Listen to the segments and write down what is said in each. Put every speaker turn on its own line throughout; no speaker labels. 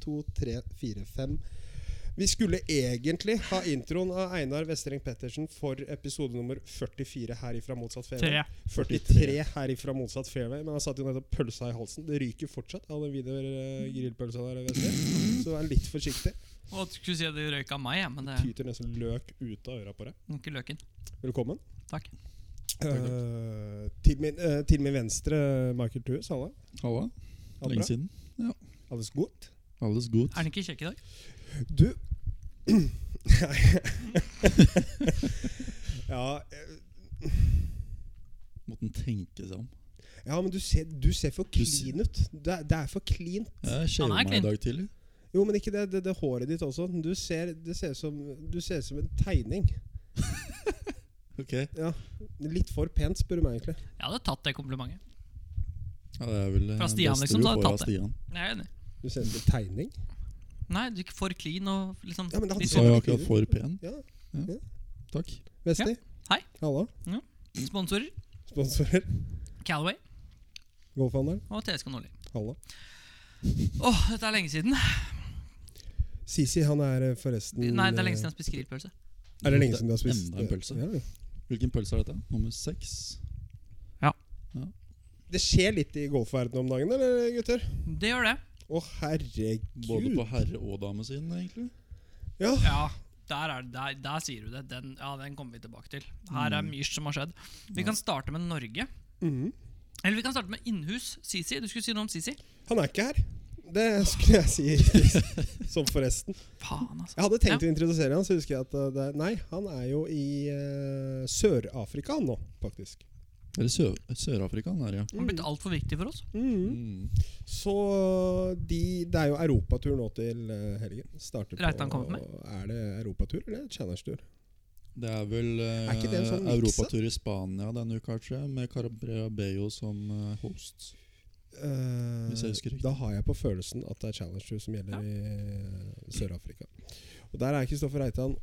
to, tre, fire, fem. Vi skulle egentlig ha introen av Einar Vestreng Pettersen for episode nummer 44 her ifra Motsatt Fairway.
Tre.
43 her ifra Motsatt Fairway, men han satt jo nettopp pølsa i halsen. Det ryker fortsatt av den videre eh, grillpølsa der, Vestreng. Så vær litt forsiktig.
Og jeg skulle si at det røyka meg, ja, men det er
Tyter nesten løk ut av øra på deg.
ikke løken.
Velkommen.
Takk.
Eh, til, min, eh, til min venstre, Michael Thues. Halla.
Halla.
Alt
Lenge
bra?
siden.
Alles godt?
Alles godt.
Er den ikke kjekk i dag?
Du Nei. ja, eh,
Måtte den tenke seg om.
ja, men du ser, du ser for
Du ser-
clean ut. Det, er- det er for clean.
Jeg shava
Han er
meg i
clean.
dag tidlig.
Jo, men ikke det, det, det håret ditt også. Du ser, det ser ut som, du ser ut som en tegning.
Ok
Litt for pent, spør du meg egentlig.
Jeg hadde tatt det komplimentet.
ja, Det er vel eh,
Fra Stian,
beste
liksom,
du
så har jeg
får av
tatt
Stian.
Jeg er enig.
Du ser ut som en tegning.
Nei, du er ikke for clean og liksom
Ja, men det hadde
litt
Så
ser du
er jeg
ikke
akkurat
ut.
for pen.
Ja. Ja.
Takk.
Vesti?
Hei.
Halla.
sånn sponsorer.
Sponsorer.
Calaway
Golfhandleren.
og TSK Nordli.
Halla.
Åh, dette er lenge siden.
Sisi, han er eh, forresten
Nei, det er lenge siden jeg spiste grillpølse.
Er det lenge siden du har spist
Enda en pølse.
Ja, ja.
Hvilken pølse er dette? Nummer seks?
Det skjer litt i golfverdenen om dagen, eller gutter?
Det gjør det.
Å, herregud.
Både på herre- og damesiden, egentlig.
Ja.
Ja, der, er, det- der, der sier du det. Den, ja, den kommer vi tilbake til. Her er mye som har skjedd. Vi kan starte med Norge.
Mhm.
Eller vi kan starte med innhus. Sisi, du skulle si noe om Sisi.
Han er ikke her. Det skulle jeg si. Som forresten.
Faen, altså.
Jeg hadde tenkt å introdusere han, så husker jeg at uh, det, Nei, han er jo i eh, Sør-Afrika nå, faktisk.
Eller Sø- Sør-Afrika, han er, ja.
Han har
Mm.
blitt altfor viktig for oss.
Mhm.
Mm.
Så de, det er jo europatur nå til eh, helgen. Starter på
Reitan kommer
Er det europatur eller challenge-tur?
Det er vel eh,
Er ikke det en sånn miks,
europatur i Spania denne uka, tror jeg, med Carabello som eh, host.
Eh,
Hvis jeg husker riktig.
da har jeg på følelsen at det er challenge-tur som gjelder
Ja.
i eh, Sør-Afrika. Og der er Kristoffer Reitan,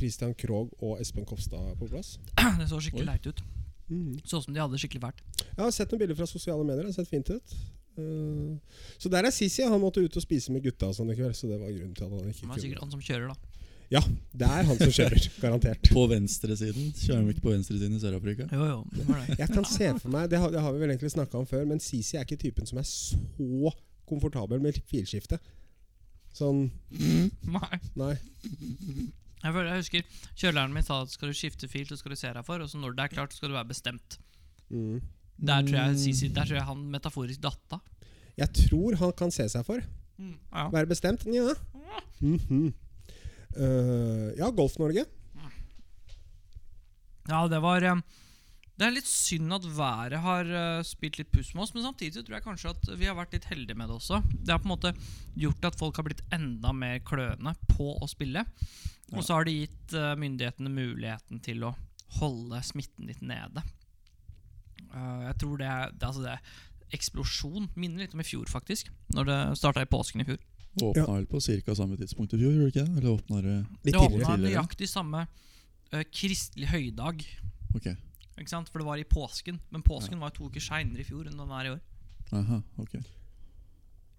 Christian Krogh og Espen Kopstad på plass.
Det så
Oi.
skikkelig leit ut.
Mm.
Mhm.
Sånn som de hadde det skikkelig fælt.
Jeg har sett noen bilder fra sosiale medier. Det har sett fint ut. Eh, så der er Sisi. Han måtte ut og spise med gutta og sånn i kveld. Så det var grunnen til at han ikke
Det var
kunne.
sikkert han som kjører, da.
Ja, det er han som kjører. garantert.
På venstresiden. Kjører de ikke på venstresiden i Sør-Afrika?
Jo, jo, det var det.
Jeg kan se for meg, Det har, det har vi vel egentlig snakka om før, men Sisi er ikke typen som er så komfortabel med filskifte. Sånn
Nei.
Nei.
Jeg, føler, jeg husker kjøleren min sa at skal du skifte fil, så skal du se deg for, og så når det er klart, så skal du være bestemt.
Mm.
Der tror jeg, Sisi, der tror jeg han metaforisk datta.
Jeg tror han kan se seg for.
Ja.
Være bestemt. Nja. Mhm. Eh, ja, Golf-Norge.
ja, det var eh, Det er litt synd at været har eh, spilt litt puss med oss, men samtidig så tror jeg kanskje at vi har vært litt heldige med det også. Det har på en måte gjort at folk har blitt enda mer kløende på å spille.
Ja.
Og så har det gitt eh, myndighetene muligheten til å holde smitten litt nede. Eh, jeg tror det er, det, er altså det er eksplosjon. Minner litt om i fjor, faktisk. Når det starta i påsken i fjor.
Åpna vel på ca. samme tidspunkt i fjor, gjorde det ikke? Eller åpna det
Litt
Det åpna
tidligere.
tidligere.
nøyaktig samme eh, kristelig høydag.
Ok.
Ikke sant? For det var i påsken. Men påsken var jo to uker seinere i fjor enn den er i år.
Aha, ok.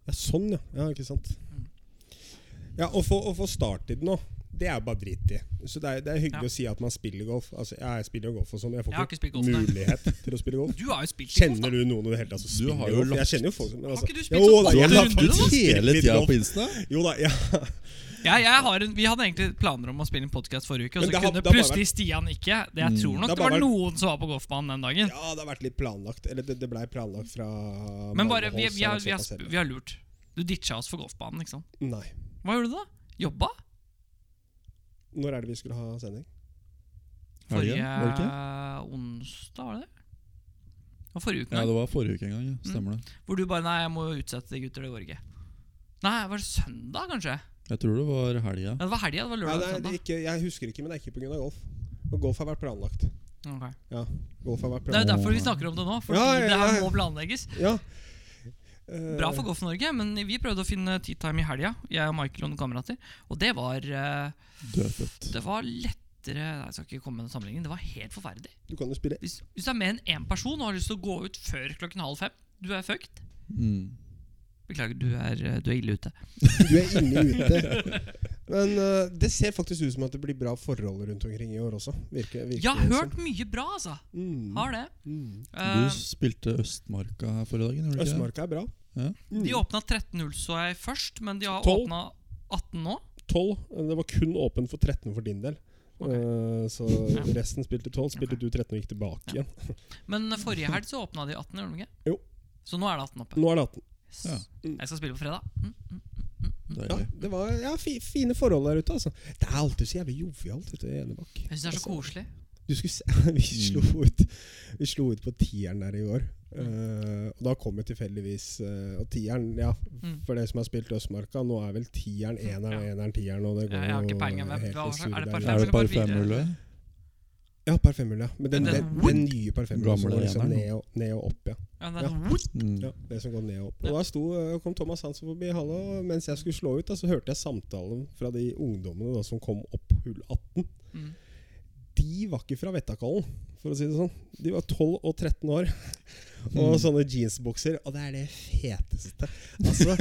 Ja, sånn, ja. ja ikke sant.
Mm.
Ja, Å få, å få starttid nå, det er bare dritt i. Så det er, det er hyggelig
Ja.
å si at man spiller golf. Altså, ja, jeg spiller jo golf og sånn, men jeg
Jeg har
får
ikke
ikke,
spilt golf, nei.
mulighet til å spille golf.
Du har jo spilt litt
Kjenner du noen i det hele tatt som
Du har
spiller
jo
golf? Jeg
lagt-
kjenner jo folk som men
Har
altså-
ikke du spilt
Jo
sånn
da,
åtte
jeg la
runder,
faktisk
da?
spilt
Hele
litt
tida
golf.
på Insta?
Jo da, ja.
Ja, jeg, har en, vi hadde egentlig planer om å spille en podkast forrige uke, og
Men
så
det har-
kunne
det har bare
plutselig Stian ikke. Det jeg tror
det
nok
har
det var
bare vært-
noen som var på golfbanen den dagen.
ja, det har vært litt planlagt. Eller det, det blei planlagt fra
Men bare,
Malmö
vi,
Hols,
vi, har,
så
vi,
såpass
har,
heller.
vi har lurt. Du ditcha oss for golfbanen, ikke sant.
Nei.
Hva gjorde du da? Jobba?
Når er det vi skulle ha sending?
Helgen,
Forrige
var det ikke?
onsdag, var det det? Det var forrige uke,
Ja,
nei.
det var forrige uke en gang. Ja. Stemmer det.
hvor du bare Nei, jeg må utsette det, gutter. Det går ikke. Nei, var det søndag, kanskje?
Jeg tror det var helga.
Ja, det var helga. Det var
Ja, det
lørdag og
er, det er
søndag.
ikke, jeg husker ikke, men det er ikke pga. golf. Og golf har vært planlagt.
Ok.
Ja, golf har vært
Det er
planlagt.
jo derfor vi snakker om det nå, fordi
Ja, ja,
det
ja.
her må planlegges.
Ja. Eh,
Bra for Golf Norge, men vi prøvde å finne tea time i helga, jeg og Michael og noen kamerater. Og det var eh,
Dødfødt.
Det var lettere Nei, Jeg skal ikke komme med noen sammenligning. Det var helt forferdelig.
Du kan jo spille
Hvis, hvis det er mer enn én person og har lyst til å gå ut før klokken halv fem, du er fucked.
Mm.
Beklager, du er, eh, du er ille ute.
Du er inne ute. Men eh, det ser faktisk ut som at det blir bra forhold rundt omkring i år også. Virker, virker
Jeg har
det som.
hørt mye bra, altså.
Mm.
Har det.
Mm.
Eh,
Du spilte Østmarka her forrige dagen, gjorde du ikke det?
Østmarka er bra.
Ja.
Mm.
de åpna 13-0, så jeg først, men de har
Tolv.
åpna 18 nå.
12. Det var kun åpen for 13 for din del.
Ok.
Eh, så resten spilte 12. Spilte
Ok.
du 13 og gikk tilbake igjen.
Men forrige helg så åpna de 18, gjorde de ikke?
Jo.
Så nå er det 18 oppe.
Nå er det 18.
Yes.
Ja.
Mm.
Jeg skal spille på fredag. Mm, mm.
Ja,
Deilig.
det var ja, fi, fine forhold der ute, altså. Det er alltid så jævlig jovialt ute i Enebakk.
Jeg syns det er så
Altså,
koselig.
Du skulle se, vi, slo
Mm.
ut, vi slo ut på tieren der i år. Eh, og da kom jo tilfeldigvis eh, Og tieren, ja,
Mm.
for det som har spilt Østmarka, nå er vel tieren eneren og
Ja.
eneren tieren. Og det går
Jeg har
jo
ikke peiling, men
helt
hva-
i
er
surr
det
der.
par fem?
Er
Bare
det par
videre.
femmulle?
Ja, par femhull, ja. Men den,
Men
den,
den-
den nye par femhull som
Gamle
går liksom
eneren.
ned og, ned og opp, ja.
Ja, det er sånn, woot!
Mm.
ja. Det som går ned og opp. Og
Ja.
da sto, eh, kom Thomas Hansen forbi halla, og mens jeg skulle slå ut, da, så hørte jeg samtalen fra de ungdommene da, som kom opp hull 18.
Mm.
De var ikke fra Vettakollen, for å si det sånn. De var 12 og 13 år. Og sånne jeansbukser. Og det er det feteste. Altså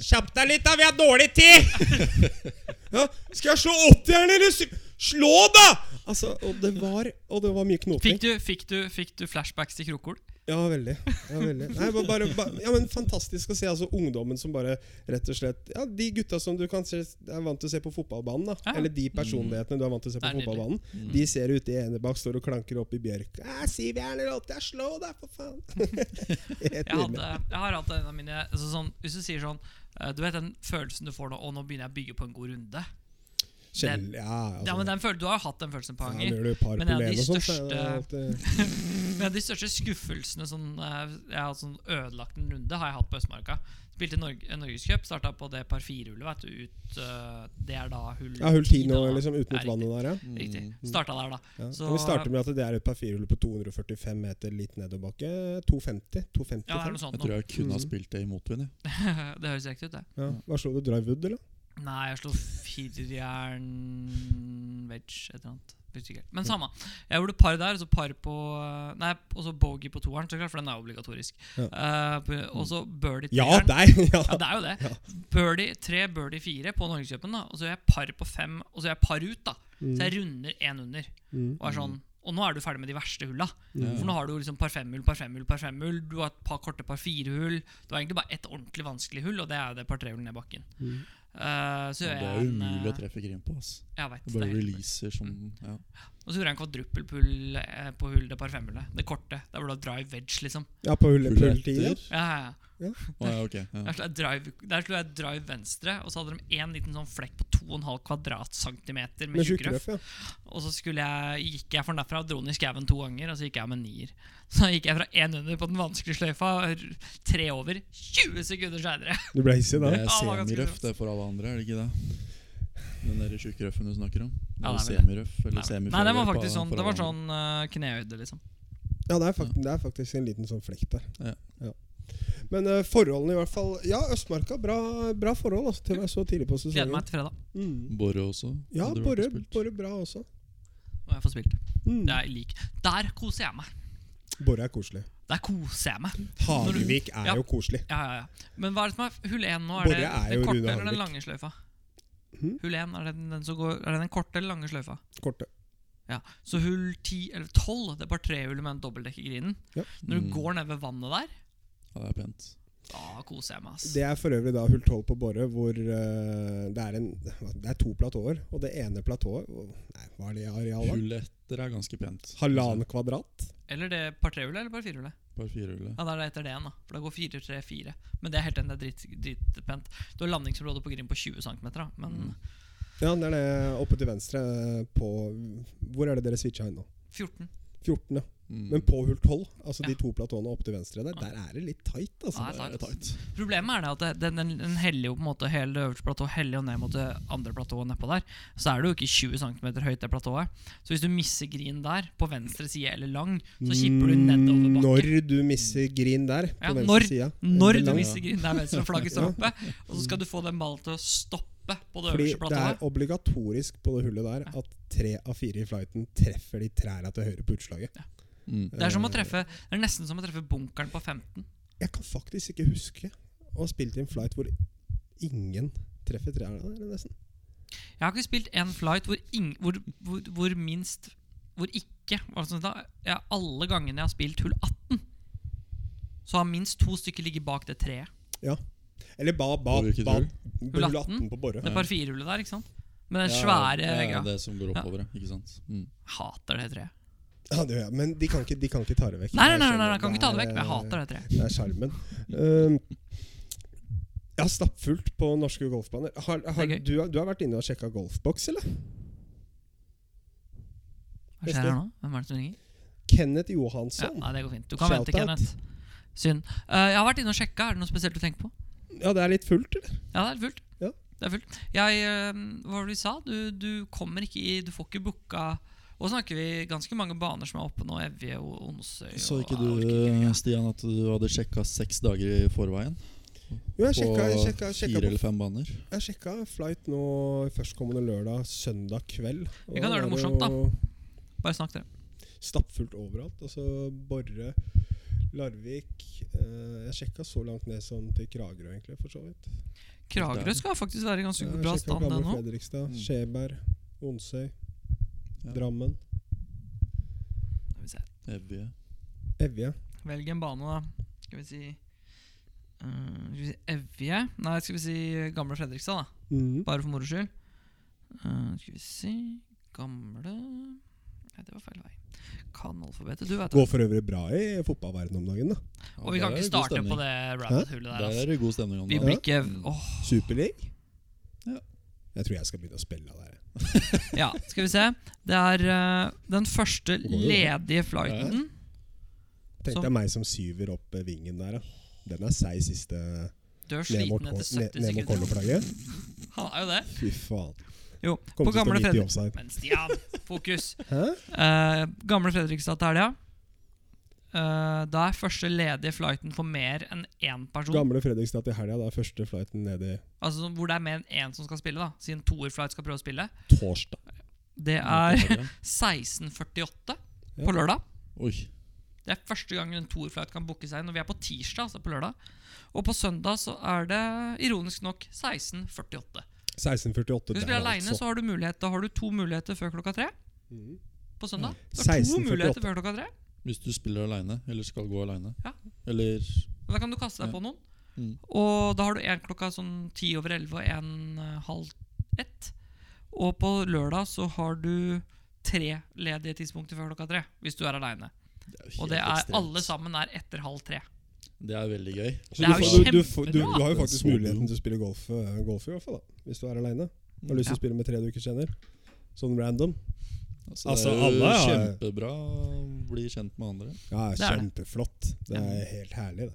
Kjapp deg litt, da! Vi har dårlig tid! Ja, skal jeg slå 80-eren, eller? sy- Slå, da! Altså, og det var, og det var mye knoting.
Fikk, du, fikk, du, fikk du flashbacks til Krokol?
Ja, veldig. Ja, veldig. Nei, ba- bare, ba, ja, men Fantastisk å se altså, ungdommen som bare rett og slett Ja, De gutta som du kanskje er vant til å se på fotballbanen. da
Ja.
Eller de personlighetene du er vant til å se på
Det er nydelig. Mm.
fotballbanen. De ser ute i Enebakk, står og klanker opp i bjørk. «Æ, Siv Jerner, åtte, jeg slå deg, for faen! Helt
Jeg,
nydelig.
hadde, jeg har hatt en av mine altså sånn, Hvis du sier sånn eh, Du vet den følelsen du får nå, og nå begynner jeg å bygge på en god runde?
Kjell, ja, altså,
Ja, men den føl- Du har jo hatt den følelsen et par
ja, når
ganger.
du par
Men en av de
polene og sånt, så er eh, det alltid-
Men de største skuffelsene sånn, eh, jeg har hatt sånn ødelagt en runde, har jeg hatt på Østmarka. Spilte Norg en Norgescup, starta på det par firehullet, vet du. Ut, eh, det er da hull
Ja, hull 10 nå,
da.
liksom, Mm.
Ja,
utenom vannet der, ja.
Mm.
Riktig. riktig. Starta der, da.
ja.
Så-
Og vi starter med at det er et par firehull på 245 meter litt nedoverbakke. 250? 250
Ja, det er noe sånt
Jeg
nå.
tror jeg kunne ha
Mm.
spilt det i motvind. jeg.
det høres riktig ut, det.
ja. Hva slo du? Drivewood, eller?
Nei, jeg slo firejern veg, et eller annet. Husker ikke helt. Men samme. Jeg gjorde par der, og så par på Nei, og så bogey på toeren, så klart, for den er obligatorisk. Eh, på- og så birdie
Ja,
treeren.
deg! Ja.
Ja, det er jo det. Birdie tre, birdie fire på Norgescupen, da. Og så gjør jeg par på fem, og så gjør jeg par ut, da. Så jeg runder én under.
Mm.
Og er sånn Og nå er du ferdig med de verste hulla.
Ja.
For nå har du liksom par femhull, par femhull, par femhull. Du har et par korte par firehull. Du har egentlig bare ett ordentlig vanskelig hull, og det er jo det par trehullet ned bakken.
Mm.
Eh, så
Ja,
gjør
det
jeg
er
en,
umulig å
eh,
treffe Grim på. ass.
Jeg vet,
Det
det
bare
er helt-
releaser som ja.
og så gjorde jeg en kvadruppel pull eh, på hull det par femhullet. Det korte. Der hvor du har drive wedge, liksom.
Ja, på hullet
Full
på hull 10. Ja.
etter.
Ja, ja, ja.
Å, ja, ok.
Der
Ja.
slo jeg drive, der slo jeg drive venstre, og så hadde de én liten sånn flekk på 2,5 kvadratcentimeter med
Med tjukkrøff,
tjukkrøff.
ja.
Og så skulle jeg, gikk jeg for den derfra og dro den i skauen to ganger, og så gikk jeg med nier. Så gikk jeg fra én under på den vanskelige sløyfa, r- tre over, 20 sekunder seinere.
Du ble hissig da?
Det
Ja,
er
det var ganske
semirøff
røft.
det er for alle andre, er det ikke det? Den derre tjukkrøffen du snakker om. Det
Ja,
er jo
det er
semirøff eller
Nei,
semifaller.
nei, det var
på-
faktisk sånn,
for
det var
alle
sånn eh, knehøyde, liksom.
Ja, det er, fakt det er faktisk en liten sånn flekt der.
Ja.
Men eh, forholdene i hvert fall Ja, Østmarka. Bra, bra forhold altså, til å være så tidlig på
Gleder
sesongen.
meg til fredag,
Mm.
sånn-
andre. Borre også.
Ja,
hadde du
Borre
vært og spilt.
Borre bra også.
og jeg får spilt.
Mm.
Det er lik. Der koser jeg meg.
Borre er koselig.
Der koser jeg meg.
Hagevik er
Ja.
jo koselig.
Ja, ja, ja. Men hva er det som er hull én nå? Er
Borre
det
er
den
jo
korte
Rune
eller
Hartvig.
den lange sløyfa?
Hm?
Hull én, er, det den- den som går- er det den korte eller lange sløyfa?
Korte.
Ja. Så hull 10, eller 12, det er bare trehullet med en dobbeltdekkergrinen.
Ja.
Når du
Mm.
går ned ved vannet der,
Ja, det er pent.
da koser jeg meg, ass.
Det er for øvrig da hull 12 på Borre, hvor eh, det, er en, det er to platåer. Og det ene platået Nei, hva er det i areal, da?
Hull etter er ganske pent.
Halvannen kvadrat?
Eller det par trehullet eller bare firehullet?
Par firehullet.
Ja, det er det etter det igjen, da. For det går 4, 3, 4. Men det er helt enig, det er drit- dritpent. Du har landingsområdet på grind på 20 cm, da.
Mm.
Men
Ja, det er det oppe til venstre eh, på Hvor er det dere switcha inn nå?
14
14, ja.
Mm.
Men på hull 12, altså de
Ja.
to platåene opp til venstre der, der er det litt tight. altså.
Ja,
det er tight.
Problemet er det at det- den, den, den heller jo på en måte hele det øverste platået heller jo ned mot det andre platået nedpå der. Så er det jo ikke 20 cm høyt, det platået. Så hvis du misser green der, på venstre side eller lang, så kipper du nedover bakken.
Når du misser green der, på
Ja,
venstre
når-
sida.
Når
Eller
du
lang-
mister green der venstre og flagget står
Ja.
oppe, og så skal du få den ballen til å stoppe på det
Fordi
øverste
det er
platået.
obligatorisk på det hullet der at tre av fire i flighten treffer de trærne til høyre på utslaget.
Mm.
Eh.
Det er som å treffe Det er nesten som å treffe bunkeren på 15.
Jeg kan faktisk ikke huske og spilt i en flight hvor ingen treffer treerne der, nesten.
Jeg har ikke spilt en flight hvor, ing, hvor, hvor, hvor minst Hvor ikke altså da, ja, Alle gangene jeg har spilt hull 18, så har minst to stykker ligget bak det treet.
Eller ba, ba,
Hvor gikk
ba,
du?
hull 18 på Borre.
Det
Ja.
parfirehullet der, ikke sant? Med den
Ja,
svære
ja,
vegga.
Det som går oppover, ja. Ikke sant. Mm.
Hater det treet.
Ja, det gjør jeg. Men de kan ikke, de kan ikke ta det vekk.
Nei, nei, nei,
Jeg
nei,
skjønner.
nei, kan ikke ta det vekk. men Jeg
er-
hater det treet.
Det er skjermen. Um, jeg har stappfullt på norske golfbaner. Har, har,
Det er gøy.
du, har- du har vært inne og sjekka golfboks, eller?
Hva skjer her nå? Hvem er det som ringer?
Kenneth
Ja,
Sånn.
Johansson. Ja,
nei, det går fint. Du kan
Shout
vente,
out.
Kenneth. Synd. Eh, jeg har vært inne og sjekka. Er det noe spesielt du tenker på?
det er litt fullt, eller?
Ja, det er fullt.
Ja.
Det er fullt. Jeg, eh, hva var det du sa? Du, du kommer ikke i Du får ikke booka Og snakker vi ganske mange baner som er oppe nå. Evje og Onsøy.
Så
og-
ikke
jeg orker ikke
du, eh,
lenger.
Stian, at du hadde sjekka seks dager i forveien?
Jo, jeg
På
sjekka, jeg sjekka, sjekka,
fire
på,
eller fem baner?
jeg sjekka flight nå førstkommende lørdag, søndag kveld. Og
Vi kan
da var
gjøre det morsomt, da.
jo
Bare snakk, dere.
Stappfullt overalt. Altså Borre, Larvik eh, Jeg sjekka så langt ned som til Kragerø, egentlig, for så vidt.
Kragerø skal faktisk være i ganske
Jeg
bra
sjekket
stand, det
Gamle
nå.
Fredrikstad,
Mm.
Skjeberg, Onsøy,
Ja.
Drammen,
Skal vi se.
Evje.
Evje.
Velg en bane, da. Skal vi si eh, Skal vi si Evje? Nei, skal vi si Gamle Fredrikstad, da.
Mm.
Bare for moro skyld. Eh, skal vi se Gamle Nei, det var feil vei. Kan alfabetet, du vet det.
Går for øvrig bra i fotballverdenen om dagen, da.
Ja,
Og vi kan ikke
der er god
starte på det
stemning.
rabbit-hullet der.
Der
Altså.
er det god stemning om
Vi
Ja.
blir
dagen.
ikke
Mm.
åh,
Superleague.
Ja.
Jeg tror jeg skal begynne å spille der.
Ja, skal vi se. Det er eh, den første
går jo bra.
ledige flighten.
Tenk
Som-
deg meg som syver opp eh, vingen der, da. Den er seig siste
Du er
ned
sliten
mot
etter
cor- ned-
70
ned mot
sekunder.
cornerflagget.
Han er jo det.
Fy faen.
Jo, på
Kommer til å stå
gamle
midt i
Fredrik...
offside.
Men Stian, fokus!
Hæ?
Eh, gamle Fredrikstad til helga. Eh, da er første ledige flighten for mer enn én person.
Gamle Fredrikstad til helga. Da er første flighten ned i
Altså Hvor det er mer enn én som skal spille, da siden toerflight skal prøve å spille.
torsdag.
Det er 16.48 på lørdag.
Oi.
Det er første gang en toerflight kan booke seg når vi er på tirsdag, altså på lørdag. Og på søndag så er det ironisk nok 16.48.
16.48
Hvis du
der,
blir aleine,
altså.
så har du mulighet. Da har du to muligheter før klokka tre
Mhm.
på søndag.
Mm.
Du har to
16.48.
muligheter før klokka tre.
Hvis du spiller aleine, eller skal gå aleine.
Ja.
Eller
Men da kan du kaste deg
Ja.
på noen.
Mm.
Og da har du en klokka sånn ti over elleve og en eh, halv ett. Og på lørdag så har du tre ledige tidspunkter før klokka tre. Hvis du er aleine.
det er jo
Og
helt
det er,
ekstremt.
alle sammen er etter halv tre.
Det er veldig gøy.
Så
Det
du,
er jo
får- du, du, får- du,
kjempebra.
du har jo
Det er
faktisk
så
muligheten
bra.
til å spille golf, eh, golf i hvert fall, da. Hvis du er aleine. Har lyst til
Ja.
å spille med tre du ikke kjenner. Sånn random.
Altså,
Altså,
det er jo
alle er-
kjempebra å bli kjent med andre.
Ja,
Det er det.
kjempeflott. Det er helt herlig, det.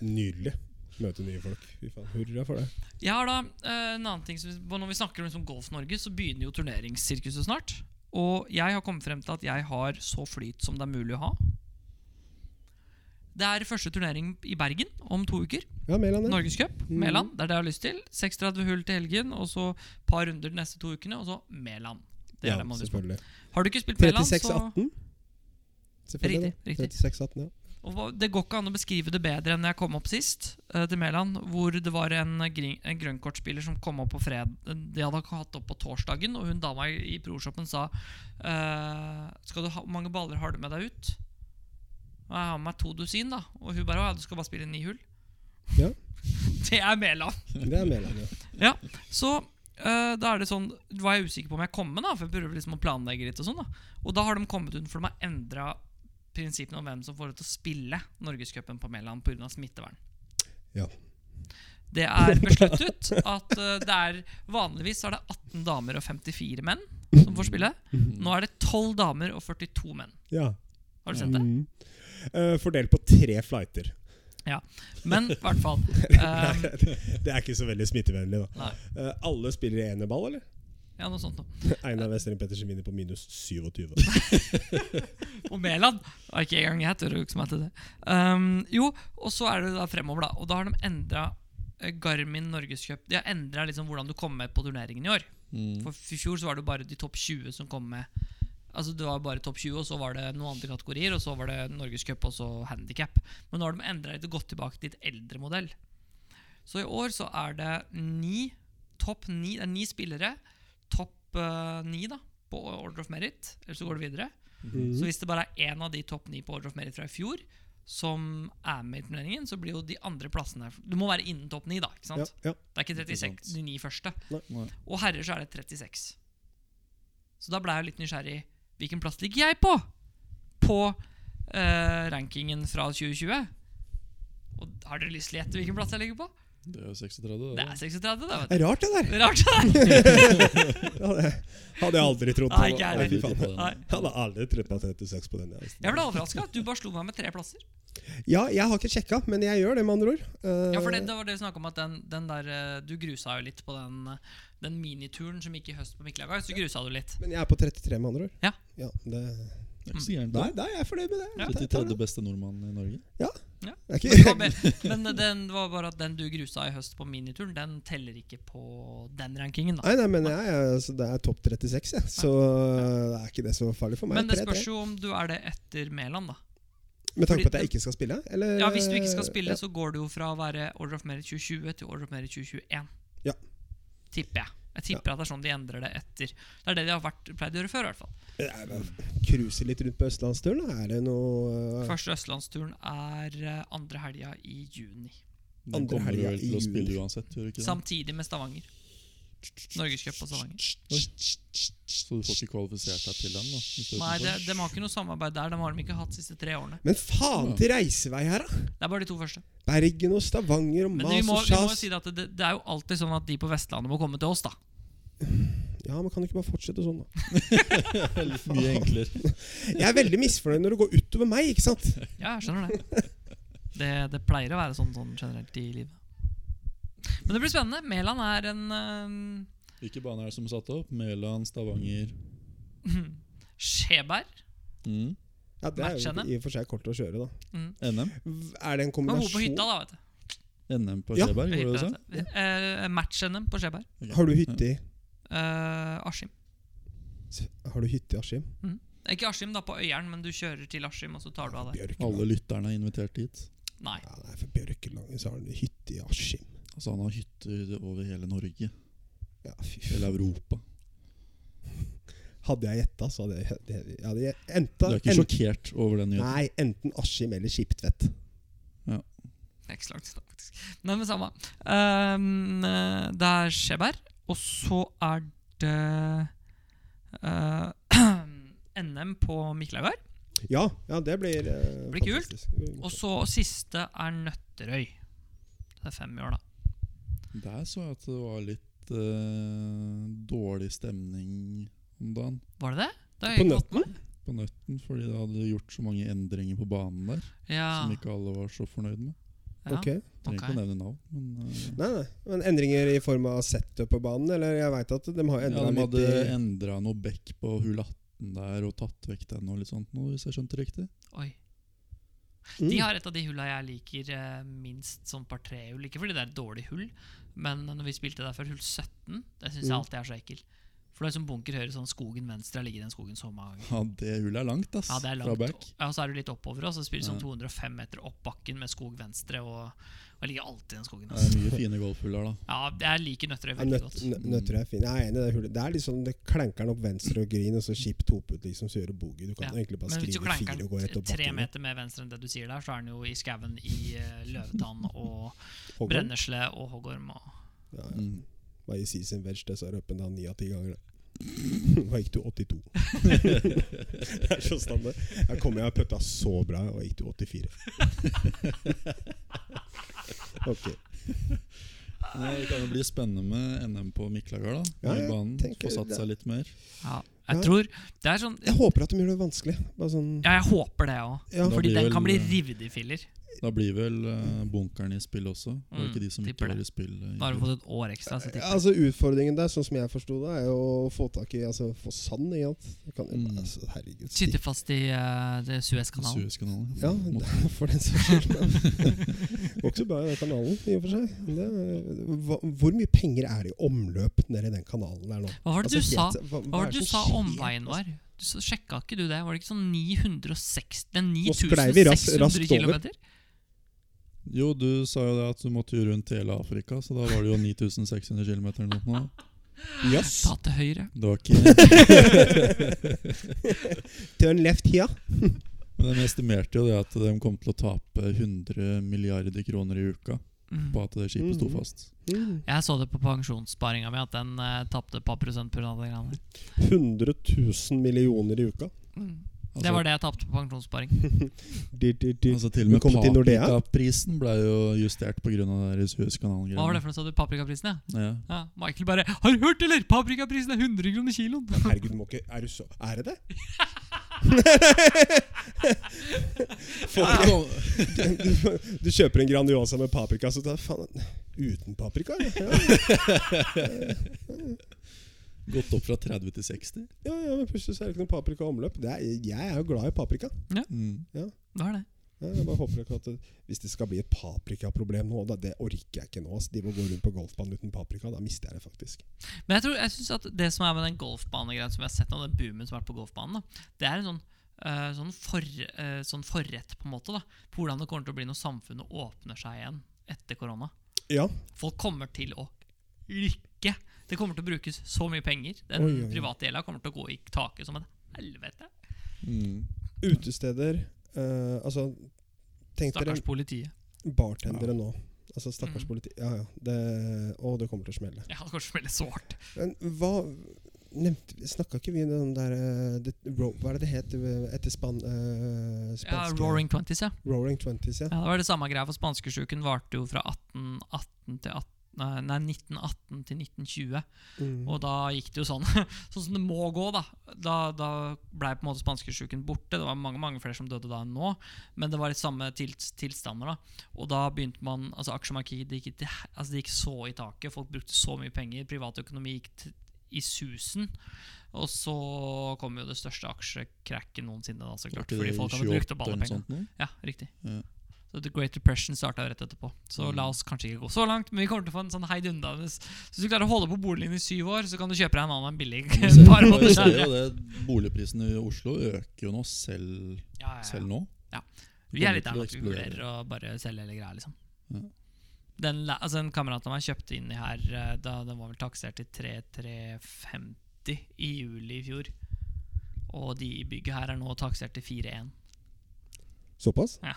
Nydelig. Møte nye folk. Fy faen, hurra for det.
Jeg har da eh, en annen ting som, vi- Når vi snakker om liksom Golf-Norge, så begynner jo turneringssirkuset snart. Og jeg har kommet frem til at jeg har så flyt som det er mulig å ha. Det er første turnering i Bergen om to uker.
Ja, Mm. Mæland, det.
Norgescup. Mæland. Det er det jeg har lyst til. 36 hull til helgen, og så par runder de neste to ukene, og så Mæland. Det er
ja,
det man har lyst på.
selvfølgelig.
Har du ikke spilt Mæland, så
36-18. Selvfølgelig.
Riktig, riktig.
36-18, ja.
Og hva- Det går ikke an å beskrive det bedre enn når jeg kom opp sist eh, til Mæland, hvor det var en, eh, grin- en grønnkortspiller som kom opp på fred... De hadde ikke hatt opp på torsdagen, og hun dama i i proshoppen sa eh, Skal du ha, Hvor mange baller har du med deg ut? Og jeg har med meg to dusin, da. Og hun bare Å ja, du skal bare spille ni hull?
Ja.
det er Mæland.
Det er Mæland, ja.
Så eh, da er det sånn var jeg usikker på om jeg kom med, da, for jeg prøver liksom å planlegge litt. Og sånn da Og da har de kommet ut, for de har endra prinsippene om hvem som får lov til å spille Norgescupen på Mæland pga. smittevern.
Ja.
Det er besluttet at eh, det er vanligvis er det 18 damer og 54 menn som får spille. Nå er det 12 damer og 42 menn.
ja.
Har du sett det?
Mm. Eh, fordelt på tre flighter.
Men i hvert fall. eh,
det er ikke så veldig smittevennlig, da.
Nei.
Eh, alle spiller i enerball, eller?
ja, noe sånt. da.
Einar Westrin Pettersen vinner på minus 27.
på Mæland. Det var ikke engang jeg tør å huske meg til det. Ehm, jo, og så er det da fremover, da. Og da har de endra Garmin Norgescup. De har endra liksom hvordan du kommer med på turneringen i år.
Mm.
For I fjor så var det jo bare de topp 20 som kom med Altså Det var bare topp 20, og så var det noen andre kategorier. Og så var det Norgescup og så handikap. Men nå har de endra litt og gått tilbake til et eldre modell. Så i år så er det ni topp ni, det er ni spillere. Topp eh, ni da på Order of Merit, eller så går det videre.
Mhm.
Så hvis det bare er én av de topp ni på Order of Merit fra i fjor som er med i turneringen, så blir jo de andre plassene Du må være innen topp ni, da. ikke sant?
Ja, ja.
Det er ikke 36,
Ikke sant.
de ni første.
Nei.
Og herrer så er det 36. Så da ble jeg jo litt nysgjerrig. Hvilken plass ligger jeg på på eh, rankingen fra 2020? Og Har dere lyst til å gjette hvilken plass jeg ligger på?
Det er jo 36,
Det
det.
er 36, det.
Det
vet
er rart, det der.
du. Rart.
Ja, det hadde jeg aldri trodd.
Nei, ikke jeg
Nei, fy
heller.
faen.
Nei.
Jeg hadde aldri trodd på 36 på den. jeg.
Jeg ble overraska. Du bare slo meg med tre plasser.
Ja, jeg har ikke sjekka, men jeg gjør det, med andre ord. Eh,
Ja, for det, det var det vi snakket om at den, den der eh, Du grusa jo litt på den, eh, den minituren som gikk i høst på Mikkelaga. Så grusa du litt.
Men jeg er på 33, med andre ord.
Ja.
det,
Det er ikke så gærent.
nei, nei, jeg er fornøyd med det.
Ja.
Jeg tar
33. beste nordmann i Norge.
Det er
Men, det
ikke,
var be- men den var bare at den du grusa i høst på minituren, den teller ikke på den rankingen. da
nei, nei, men jeg, er- altså, det er topp 36, jeg. Så det er ikke det som er farlig for meg.
Men det
Tre, tre.
spørs jo om du er det etter Mæland, da.
Med tanke
fordi
på at jeg ikke skal spille? Eller?
Ja, Hvis du ikke skal spille,
Eh, Ja.
så går det jo fra å være Order of Merit 2020 til Order of Merit 2021.
Ja.
Tipper jeg. Jeg tipper at det er sånn de endrer det etter. Det er det de har vært, pleid å gjøre før. i hvert fall
Jeg bare Cruise litt rundt på østlandsturen? da. Er det noe eh,
Første østlandsturen er eh, andre helga i juni.
Den
Andre
kommer du
helga
vel
i
til å spille
juli.
uansett, gjør du ikke det?
Samtidig med Stavanger. Norgescup på Stavanger.
Så du får ikke kvalifisert deg til den, da? hvis du er
Nei, det,
utenfor.
De har ikke noe samarbeid der. De har de ikke hatt de siste tre årene.
Men faen til reisevei her, da!
Det er bare de to første.
Bergen og Stavanger og
Men vi
mas
må,
og
vi må jo
sjas.
si det at det, det er jo alltid sånn at de på Vestlandet må komme til oss, da.
Ja, man kan ikke bare fortsette sånn, da.
Det er litt mye enklere.
Jeg er veldig misfornøyd når det går utover meg, ikke sant?
Ja, jeg skjønner det. Det, det pleier å være sånn, sånn generelt i livet. Men det blir spennende. Mæland er en øh,
Hvilke baner er det som er satt opp? Mæland, Stavanger
skjeberg.
mm.
Ja, Det er jo
Matchene.
i og for seg kort å kjøre, da.
NM.
V- Er det en
Man bor på
kombinasjon?
hytta, da, vet du.
NM på
Ja.
Skjeberg,
På
var det
hytta,
det du sa?
vet du. Eh, Match-NM på skjeberg.
Ok.
Har du hytte i
Eh, Askim.
S- Har du hytte i Askim?
Ikke Askim, da, på Øyeren, men du kjører til Askim, og så tar du av der.
Bjørkeland.
Alle lytterne er invitert dit.
Nei.
Ja, nei, for Bjørkelangen så har han hytte i Askim.
Altså Han har hytter over hele Norge.
Ja, fy faen.
Eller Europa.
Hadde jeg gjetta, så hadde jeg, det- jeg hadde jeg- enta,
Du er ikke sjokkert over den nyheten?
Nei, enten Askim eller Skiptvet.
Det er ikke så langt unna, faktisk. Nei, men samme. Ehm, eh, det er skjeberg, og så er det eh, NM på Miklagard.
Ja, ja, det blir eh,
Blir kult.
fantastisk. Det blir
Og så siste er Nøtterøy. Det er fem i år, da.
Der så jeg at det var litt eh, dårlig stemning om dagen
Var det det? det har
På
jeg ikke fått
Nøtten?
med.
på Nøtten, fordi det hadde gjort så mange endringer på banen der
Ja.
som ikke alle var så fornøyd med.
ja.
Ok.
Trenger ikke
Ok.
å nevne navn, men eh,
Nei, nei. Men endringer i form av setup på banen? Eller jeg veit at de har
ja,
endra
De
litt
hadde
i
endra noe bekk på hull 18 der og tatt vekk den og litt sånt, nå, hvis jeg skjønte riktig.
Oi.
Mm.
De har et av de hulla jeg liker eh, minst som par-tre-hull. Ikke fordi det er et dårlig hull, men når vi spilte der for hull 17, det syns jeg
Mm.
alltid er så ekkelt. For det er som bunker høyre, sånn skogen venstre har ligget i den skogen så mange ganger.
Ja, det hullet er langt, ass.
Ja, det er
Fra
langt.
back.
Ja, og så er du litt oppover, og så spiller du sånn
Ja.
205 meter opp bakken med skog venstre, og, og jeg ligger alltid i den skogen.
Det
Altså.
er mye fine golfhull her, da.
Ja, jeg liker Nøtterøy
ja,
veldig
nøtt,
godt.
nø- Nøtter er fine. Jeg er enig i det hullet. Det er liksom Det klenker den opp venstre og green, og så chip tope ut, liksom, så gjør du boogie. Du kan
Ja.
egentlig bare
Men hvis du
skrive
klanker
fire og gå rett
den
opp
tre
bakken.
meter mer venstre enn det du sier der, så er den jo i skauen i eh, løvetann og
Hoggorm?
brennesle og hoggorm. Og
Ja, ja.
Mm.
Var i season veg, det sa røpen da ni av ti ganger. Da gikk du 82. det er så standard. Jeg kom jeg og putta så bra, og gikk du 84. ok.
Nei, Det kan jo bli spennende med NM på Miklagard, da.
Ja,
Ny
jeg
banen.
tenker
Få satt
det-
seg litt mer.
Ja,
Ja.
jeg tror Det er sånn
Jeg håper at de gjør det vanskelig. Bare sånn
Ja, jeg håper det òg.
Ja.
Da
Fordi
blir
den
vel-
kan
eh,
bli revet i filler.
Da blir vel eh, bunkeren i spill også. Var det
Mm,
ikke de som ikke
tipper
var
det.
i spill? eh, i
Da har du
fjor?
fått et år ekstra. Så tipper jeg.
Altså Utfordringen der, sånn som jeg forsto det, er jo å få tak i Altså få sand i alt. Du kan jo
Mm.
bare, altså, herregud.
Sitter
stikk-
fast i eh, det Suezkanalen.
Suezkanalen.
Ja,
Mot-
det- for den saks skyld. Går ikke så bra i den kanalen, i og for seg. Det, er- hva, hvor mye penger er det i omløp nede i den kanalen der nå? Altså,
Hva var det du sa
helt- hva, altså?
Hva var det du sa omveien var? så sjekka ikke du det? Var det ikke sånn 960 det er
Nå sklei vi raskt-
9600
raskt over.
kilometer?
Jo, du sa jo det at du måtte jo rundt hele Afrika, så da var det jo 9600 km eller noe. sånt nå.
Jøss.
Ta til høyre.
Det var ikke
Turn left here.
Men de estimerte jo det at de kom til å tape 100 milliarder kroner i uka
Mm.
på at det skipet sto
Mhm.
fast.
Mm.
Jeg så det på pensjonssparinga mi, at den eh, tapte et par prosent pga. det greiene.
100 000 millioner i uka.
Mm.
Altså,
Det var det jeg tapte på pensjonssparing.
Dyr, dyr, dyr.
Altså Til og med
Velkommen til Nordea.
paprikaprisen ble jo justert pga. Suezkanalen.
Hva var det for noe, sa du? Paprikaprisen, ja?
Ja.
ja? Michael bare 'Har du hørt, eller?! Paprikaprisen er 100 kroner kiloen!
Herregud, du må ikke Er du så Er det det? Folk, du, du kjøper en Grandiosa med paprika, så tar faen Uten paprika? Ja,
Gått opp fra 30 til 60.
ja, ja men plutselig så er det ikke noe paprika og omløp. Det er, jeg er jo glad i paprika.
Mm.
Hva er det?
Ja, Jeg bare håper ikke at det, Hvis det skal bli et paprikaproblem nå, da, det orker jeg ikke nå. ass. De må gå rundt på golfbanen uten paprika. Da mister jeg det faktisk.
Men jeg tror, jeg synes at det som er med den golfbanegreia som vi har sett nå, den boomen som har vært på golfbanen, da, det er en sånn, eh, sånn, for, eh, sånn forrett på en måte da, på hvordan det kommer til å bli når samfunnet åpner seg igjen etter korona.
Ja,
Folk kommer til å rykke. Det kommer til å brukes så mye penger. Den
Oi, oi, oi.
private gjelda kommer til å gå i taket som et helvete.
Mm.
utesteder eh, Altså, tenk dere
Stakkars politiet.
bartendere nå. Altså, stakkars
Mm.
politi... Ja, ja. Det, å, det kommer til å smelle.
Jeg hadde kanskje meldt så hardt.
Men hva nevnte vi- Snakka ikke vi om den der eh, det, ro, Hva er det det het eh, etter span, eh, spanske
Ja, Roaring Twenties, ja.
Roaring Twenties, ja.
ja. Det var det samme greia, for spanskesjuken varte jo fra 1818 til 18, nei, 1918 til 1920.
Mm.
Og da gikk det jo sånn Sånn som det må gå, da. Da, da blei på en måte spanskesjuken borte. Det var mange mange flere som døde da enn nå, men det var litt samme til, tilstander. da Og da begynte man Altså aksjemarkedet det gikk, til he- altså, det gikk så i taket. Folk brukte så mye penger. Privatøkonomi gikk t i susen. Og så kom jo det største aksjekrakket noensinne, da, så
Var
klart.
ikke det
Fordi
i
folk hadde
28
brukt opp alle
eller noe
pengene.
sånt nå?
Ja, riktig.
Ja.
Så The Great Depression starta rett etterpå. Så
Mm.
la oss kanskje ikke gå så langt, men vi kommer til å få en sånn heidundrende Så hvis du klarer å holde på boligen din i syv år, så kan du kjøpe deg en annen billig
Men se-
par
bare
måneder
se jo
senere.
det, Boligprisene i Oslo øker jo nå, selv,
Ja, ja,
selv
ja.
nå.
Vi er litt der
kommer
nå at
til
vi
å eksplodere. Mm.
vurderer å bare selge hele greia, liksom.
Ja.
Den, la- altså, en kamerat av meg kjøpte inn i her eh, da den var vel taksert til 3350 i juli i fjor. Og de i bygget her er nå taksert til 4,1.
Såpass?
Det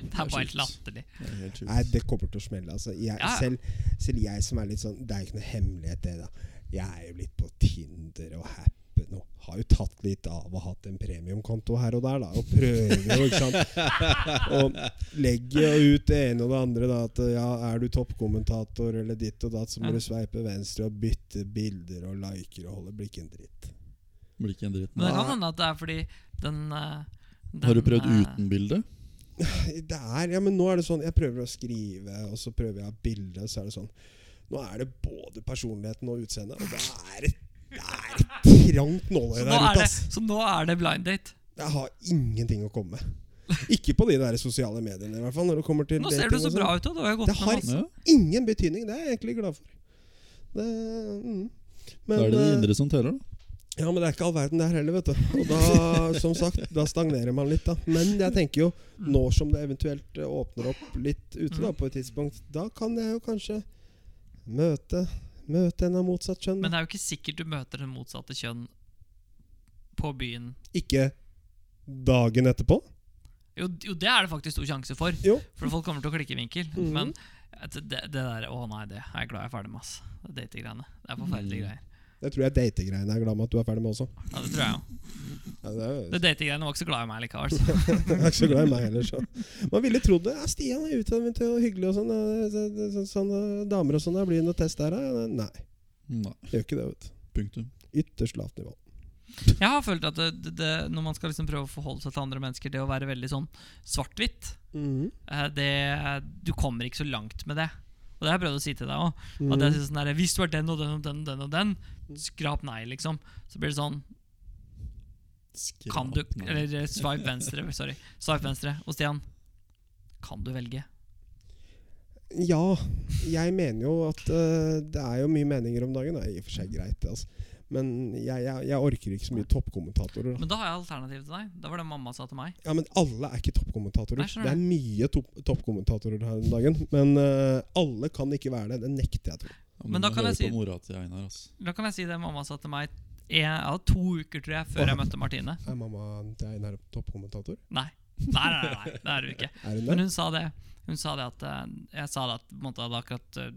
Det er
er bare helt
sjukt.
latterlig.
Det er helt sjukt.
Nei, det kommer til å smelle. Altså. Jeg,
Ja, ja.
Selv, selv jeg som er litt sånn Det er jo ikke noe hemmelighet, det. da Jeg er jo blitt på Tinder og Happen og har jo tatt litt av og hatt en premiumkonto her og der, da. Og prøver jo, ikke sant. Og legger jo ut det ene og det andre. da At ja, er du toppkommentator eller ditt og datt, så må
Ja.
du sveipe venstre og bytte bilder og liker og holde blikket en dritt.
Blir ikke en dritt.
Men det kan
Nei.
hende at det er fordi den, eh, den
Har du prøvd
eh,
uten bilde?
Det er, ja, men nå er det sånn Jeg prøver å skrive, og så prøver jeg å ha bilde, og så er det sånn Nå er det både personligheten og utseendet, og det er et det er et trangt nåløye
Så
der
nå, er
ute,
det,
ass.
så nå er det blind date.
Jeg har ingenting å komme med. Ikke på de der sosiale mediene, i hvert fall. Når det kommer til
Nå ser
dating
du så
og sånn.
bra ut. da. Du har jo gått
Det
med
har-
masse.
Ja.
Ingen betydning. Det er jeg egentlig glad for. Det, mm.
Da
Men,
er det det
eh,
indre som teller, da.
Ja, men det er ikke all verden det her heller, vet du. Og da, som sagt, da stagnerer man litt, da. Men jeg tenker jo, nå som det eventuelt eh, åpner opp litt ute da, på et tidspunkt, da kan jeg jo kanskje møte Møte en av motsatt kjønn.
Men det er jo ikke sikkert du møter det motsatte kjønn på byen.
ikke dagen etterpå.
Jo, jo det er det faktisk stor sjanse for.
Jo.
For folk kommer til å klikke i vinkel.
Mhm.
Men at det, det der Å nei, det er jeg glad jeg er ferdig med. ass Det er Dategreiene. Det er forferdelige
Mm.
greier.
Det tror jeg datinggreiene er glad med at du er ferdig med også.
Ja, det tror jeg jo.
Ja, det er,
Det datinggreiene var ikke så glad i meg likevel. Så.
jeg er ikke så glad i meg heller, så. Man ville trodd det. Ja, Stian er utadvendt og hyggelig og sånn. ja, så- så- så- Sånne damer og sånn. ja, Blir det noe test der, da? Nei,
Nei.
det gjør ikke det, vet du.
Punktum.
Ytterst lavt nivå.
Jeg har følt at det, det, det, når man skal liksom prøve å forholde seg til andre mennesker, det å være veldig sånn svart-hvitt
Mhm.
eh, det, Du kommer ikke så langt med det. Og det har jeg prøvd å si til deg òg. At
Mhm.
jeg synes sånn der, Hvis du er den og den og den og den, og den skrap nei, liksom. Så blir det sånn Kan du
Skrap, nei.
Eller eh, swipe venstre. Sorry. Swipe venstre. Og Stian, kan du velge?
Ja, jeg mener jo at eh, det er jo mye meninger om dagen. Det er i og for seg greit, det, altså. Men jeg, jeg, jeg orker ikke så mye toppkommentatorer. da.
Men da har jeg alternativ til deg. Da var det mamma sa til meg.
Ja, Men alle er ikke toppkommentatorer.
Nei, skjønner
Det er mye topp- toppkommentatorer her om dagen. Men eh, alle kan ikke være det. Det nekter jeg, tror jeg.
Ja,
Men da
må
kan jeg
høre
si-
på mora til Einar, altså. ass.
Da kan jeg si det mamma sa til meg en, ja, to uker tror jeg før jeg møtte Martine.
Er mamma til Einar toppkommentator?
Nei. Nei, nei, nei, nei, det er du ikke.
Er hun
Men
det?
hun sa det. Hun sa det at eh, Jeg sa det at på en måte, jeg hadde akkurat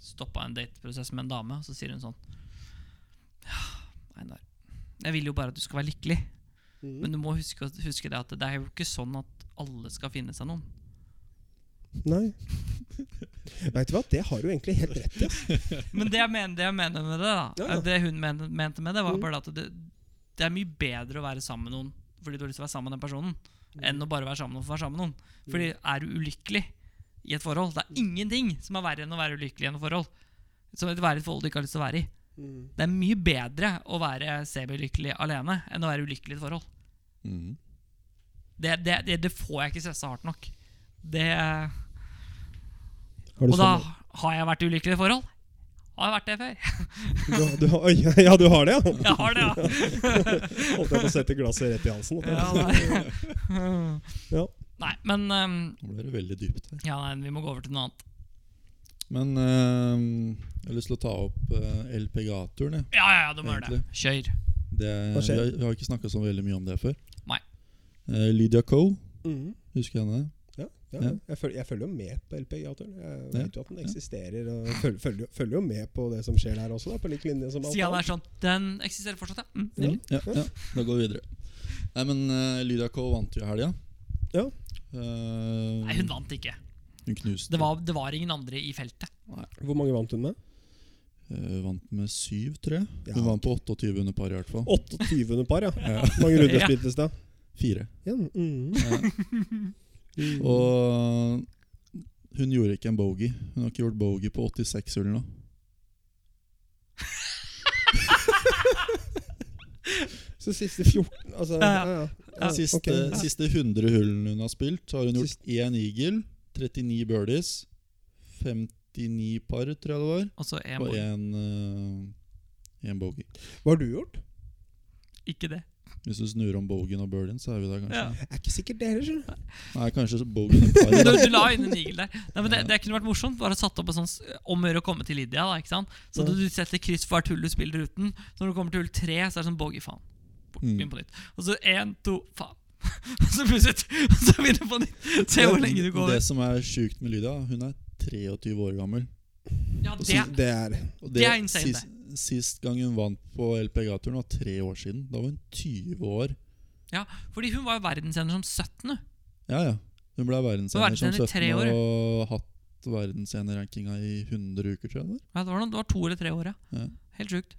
stoppa en dateprosess med en dame, og så sier hun sånn Ja, Einar. Jeg vil jo bare at du skal være lykkelig.
Mm.
Men du må huske, huske det at det er jo ikke sånn at alle skal finne seg noen.
Nei. Veit du hva, det har du egentlig helt rett i. ass.
Men det jeg mener, det jeg mener med det, da
Ja, ja.
Det hun men- mente med det, var
Mm.
bare at det, det er mye bedre å være sammen med noen fordi du har lyst til å være sammen med den personen,
Mm.
enn å bare være sammen med noen for å være sammen med noen. Fordi er du ulykkelig i et forhold
Mm.
Det er ingenting som er verre enn å være ulykkelig i et forhold. Som å være i et forhold du ikke har lyst til å være i.
Mm.
Det er mye bedre å være semilykkelig alene enn å være ulykkelig i et forhold.
Mhm.
Det, det, det, det får jeg ikke stressa hardt nok. Det,
Har du
og da
sånn-
har jeg vært ulykkelig i et forhold. Har jeg vært det før?
du, du, oi, Ja, du har det, ja?
Jeg har det, ja.
Holdt jeg på å sette glasset rett i halsen.
ja nei.
Ja.
nei, men ehm,
Nå ble det veldig dypt her.
Ja, nei, vi må gå over til noe annet.
Men eh, jeg har lyst til å ta opp eh, LPGA-turen. jeg.
Ja, ja, ja, du må gjøre det. Kjør.
Det,
Hva
vi,
skjer?
har, vi har ikke snakka så veldig mye om det før.
Nei.
Eh, Lydia Coe,
Mhm.
husker jeg henne?
Ja, ja,
Ja.
ja. Jeg, følger, jeg følger jo med på LPGA-turen. Jeg
Ja.
vet jo at den eksisterer. Og følger, følger, følger jo med på det som skjer der også, da, på lik linje som alt
Sida
annet.
der sånn Den eksisterer fortsatt, ja. Mm,
Ja.
nydelig.
Ja, ja, da går vi videre. Nei, men eh, Lydia K vant jo i helga.
Ja.
Eh,
Nei, hun vant ikke.
Hun knuste.
Det var, det var ingen andre i feltet.
Hvor mange vant hun med?
Eh, vant med syv, tror jeg.
Ja.
Hun vant på 28 under par, i hvert fall.
28. par, ja. Mange runder
Ja.
spiltes da?
Fire.
Ja. mhm. Mhm.
Og hun gjorde ikke en bogey. Hun har ikke gjort bogey på 86 hull nå.
Så siste 14 altså,
Ja,
ja,
ja.
ja.
Ja,
Siste,
ok. Ja.
siste 100 hullene hun har spilt, så har hun gjort én eagle, 39 birdies, 59 par, tror jeg det var,
Og så er
og
Mo-
én uh, bogey.
Hva har du gjort?
Ikke det.
Hvis du snur om bogeyen og birdien, så er vi der, kanskje.
Ja.
Er ikke sikkert det heller, skjønner du.
Nei, kanskje så bogeyen og
Du,
par.
du la inn en igel der. Nei, men det, det kunne vært morsomt. Bare satt opp en sånn s- om å gjøre å komme til Lydia. Da, ikke sant? Så du, du setter kryss for hvert hull du spiller uten. Så når du kommer til hull tre, så er det sånn bogey, faen. Bort,
Mm.
Begynn på nytt. Og så én, to, faen. Og så plutselig og så begynner du på nytt. Se hvor lenge du går.
Det som er sjukt med Lydia, hun er 23 år gammel.
Ja,
Så
det,
det er
Og
Det er insane, det.
sist, sist gang hun vant på LPGA-turen, var tre år siden. Da var hun 20 år.
fordi hun var jo verdensener som 17, hun.
Ja, ja. Hun ble verdensener som
verdensener i tre
17
år, ja.
og hatt verdensenerrankinga i 100 uker, tror jeg. det var.
Ja, det, var noen, det var to eller tre år, ja.
Ja.
Helt sjukt.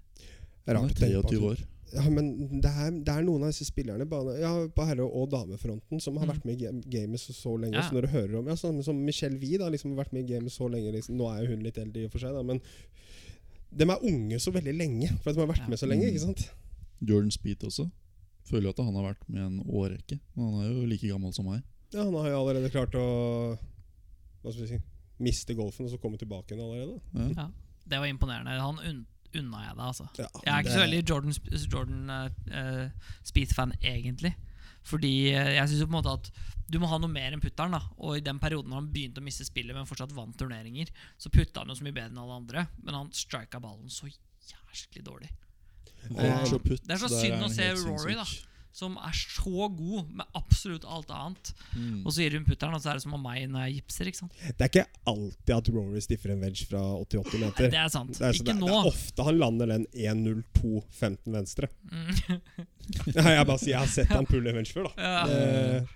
rart.
Hun er
å tenke på at
23
hun-
år.
Ja, men det er, det er noen av disse spillerne bane- ja, på herre- og damefronten som har
Mm.
vært med i game- gamet så, så lenge.
Ja.
Så når du hører om ja, sånn Som Michelle Wie, da, liksom har vært med i gamet så lenge. Liksom. Nå er jo hun litt eldre, i og for seg, da, men de er unge så veldig lenge. For at de har vært
Ja.
med så lenge,
Mm.
ikke sant?
Jordan Speed også. Føler jo at han har vært med en årrekke. Men han er jo like gammel som meg.
Ja, Han har jo allerede klart å Hva skal vi si miste golfen og så komme tilbake igjen allerede.
Ja.
Det var imponerende. Han unn, unna jeg deg, altså.
Ja,
Jeg er ikke
det-
så veldig Jordan, Sp- altså Jordan eh, eh, Spieth-fan, egentlig. Fordi eh, jeg syns jo på en måte at du må ha noe mer enn putteren. da Og i den perioden når han begynte å miste spillet, men fortsatt vant turneringer, så putta han jo så mye bedre enn alle andre. Men han strika ballen så jæsklig dårlig.
Range og putt,
Det er så
der
synd å
han
se
helt
Rory, da.
sinnssyk.
Som er så god med absolutt alt annet.
Mm.
Og så gir hun putteren, og så er det som om meg når jeg gipser. ikke sant?
Det er ikke alltid at Rory stiffer en wedge fra 88 meter.
Det er sant.
Det er, så det,
ikke
er,
nå.
det er ofte han lander den 1.02,15 venstre.
Mm.
Nei, jeg bare sier jeg har sett han pulle en venstre før, da.
Ja.
Eh,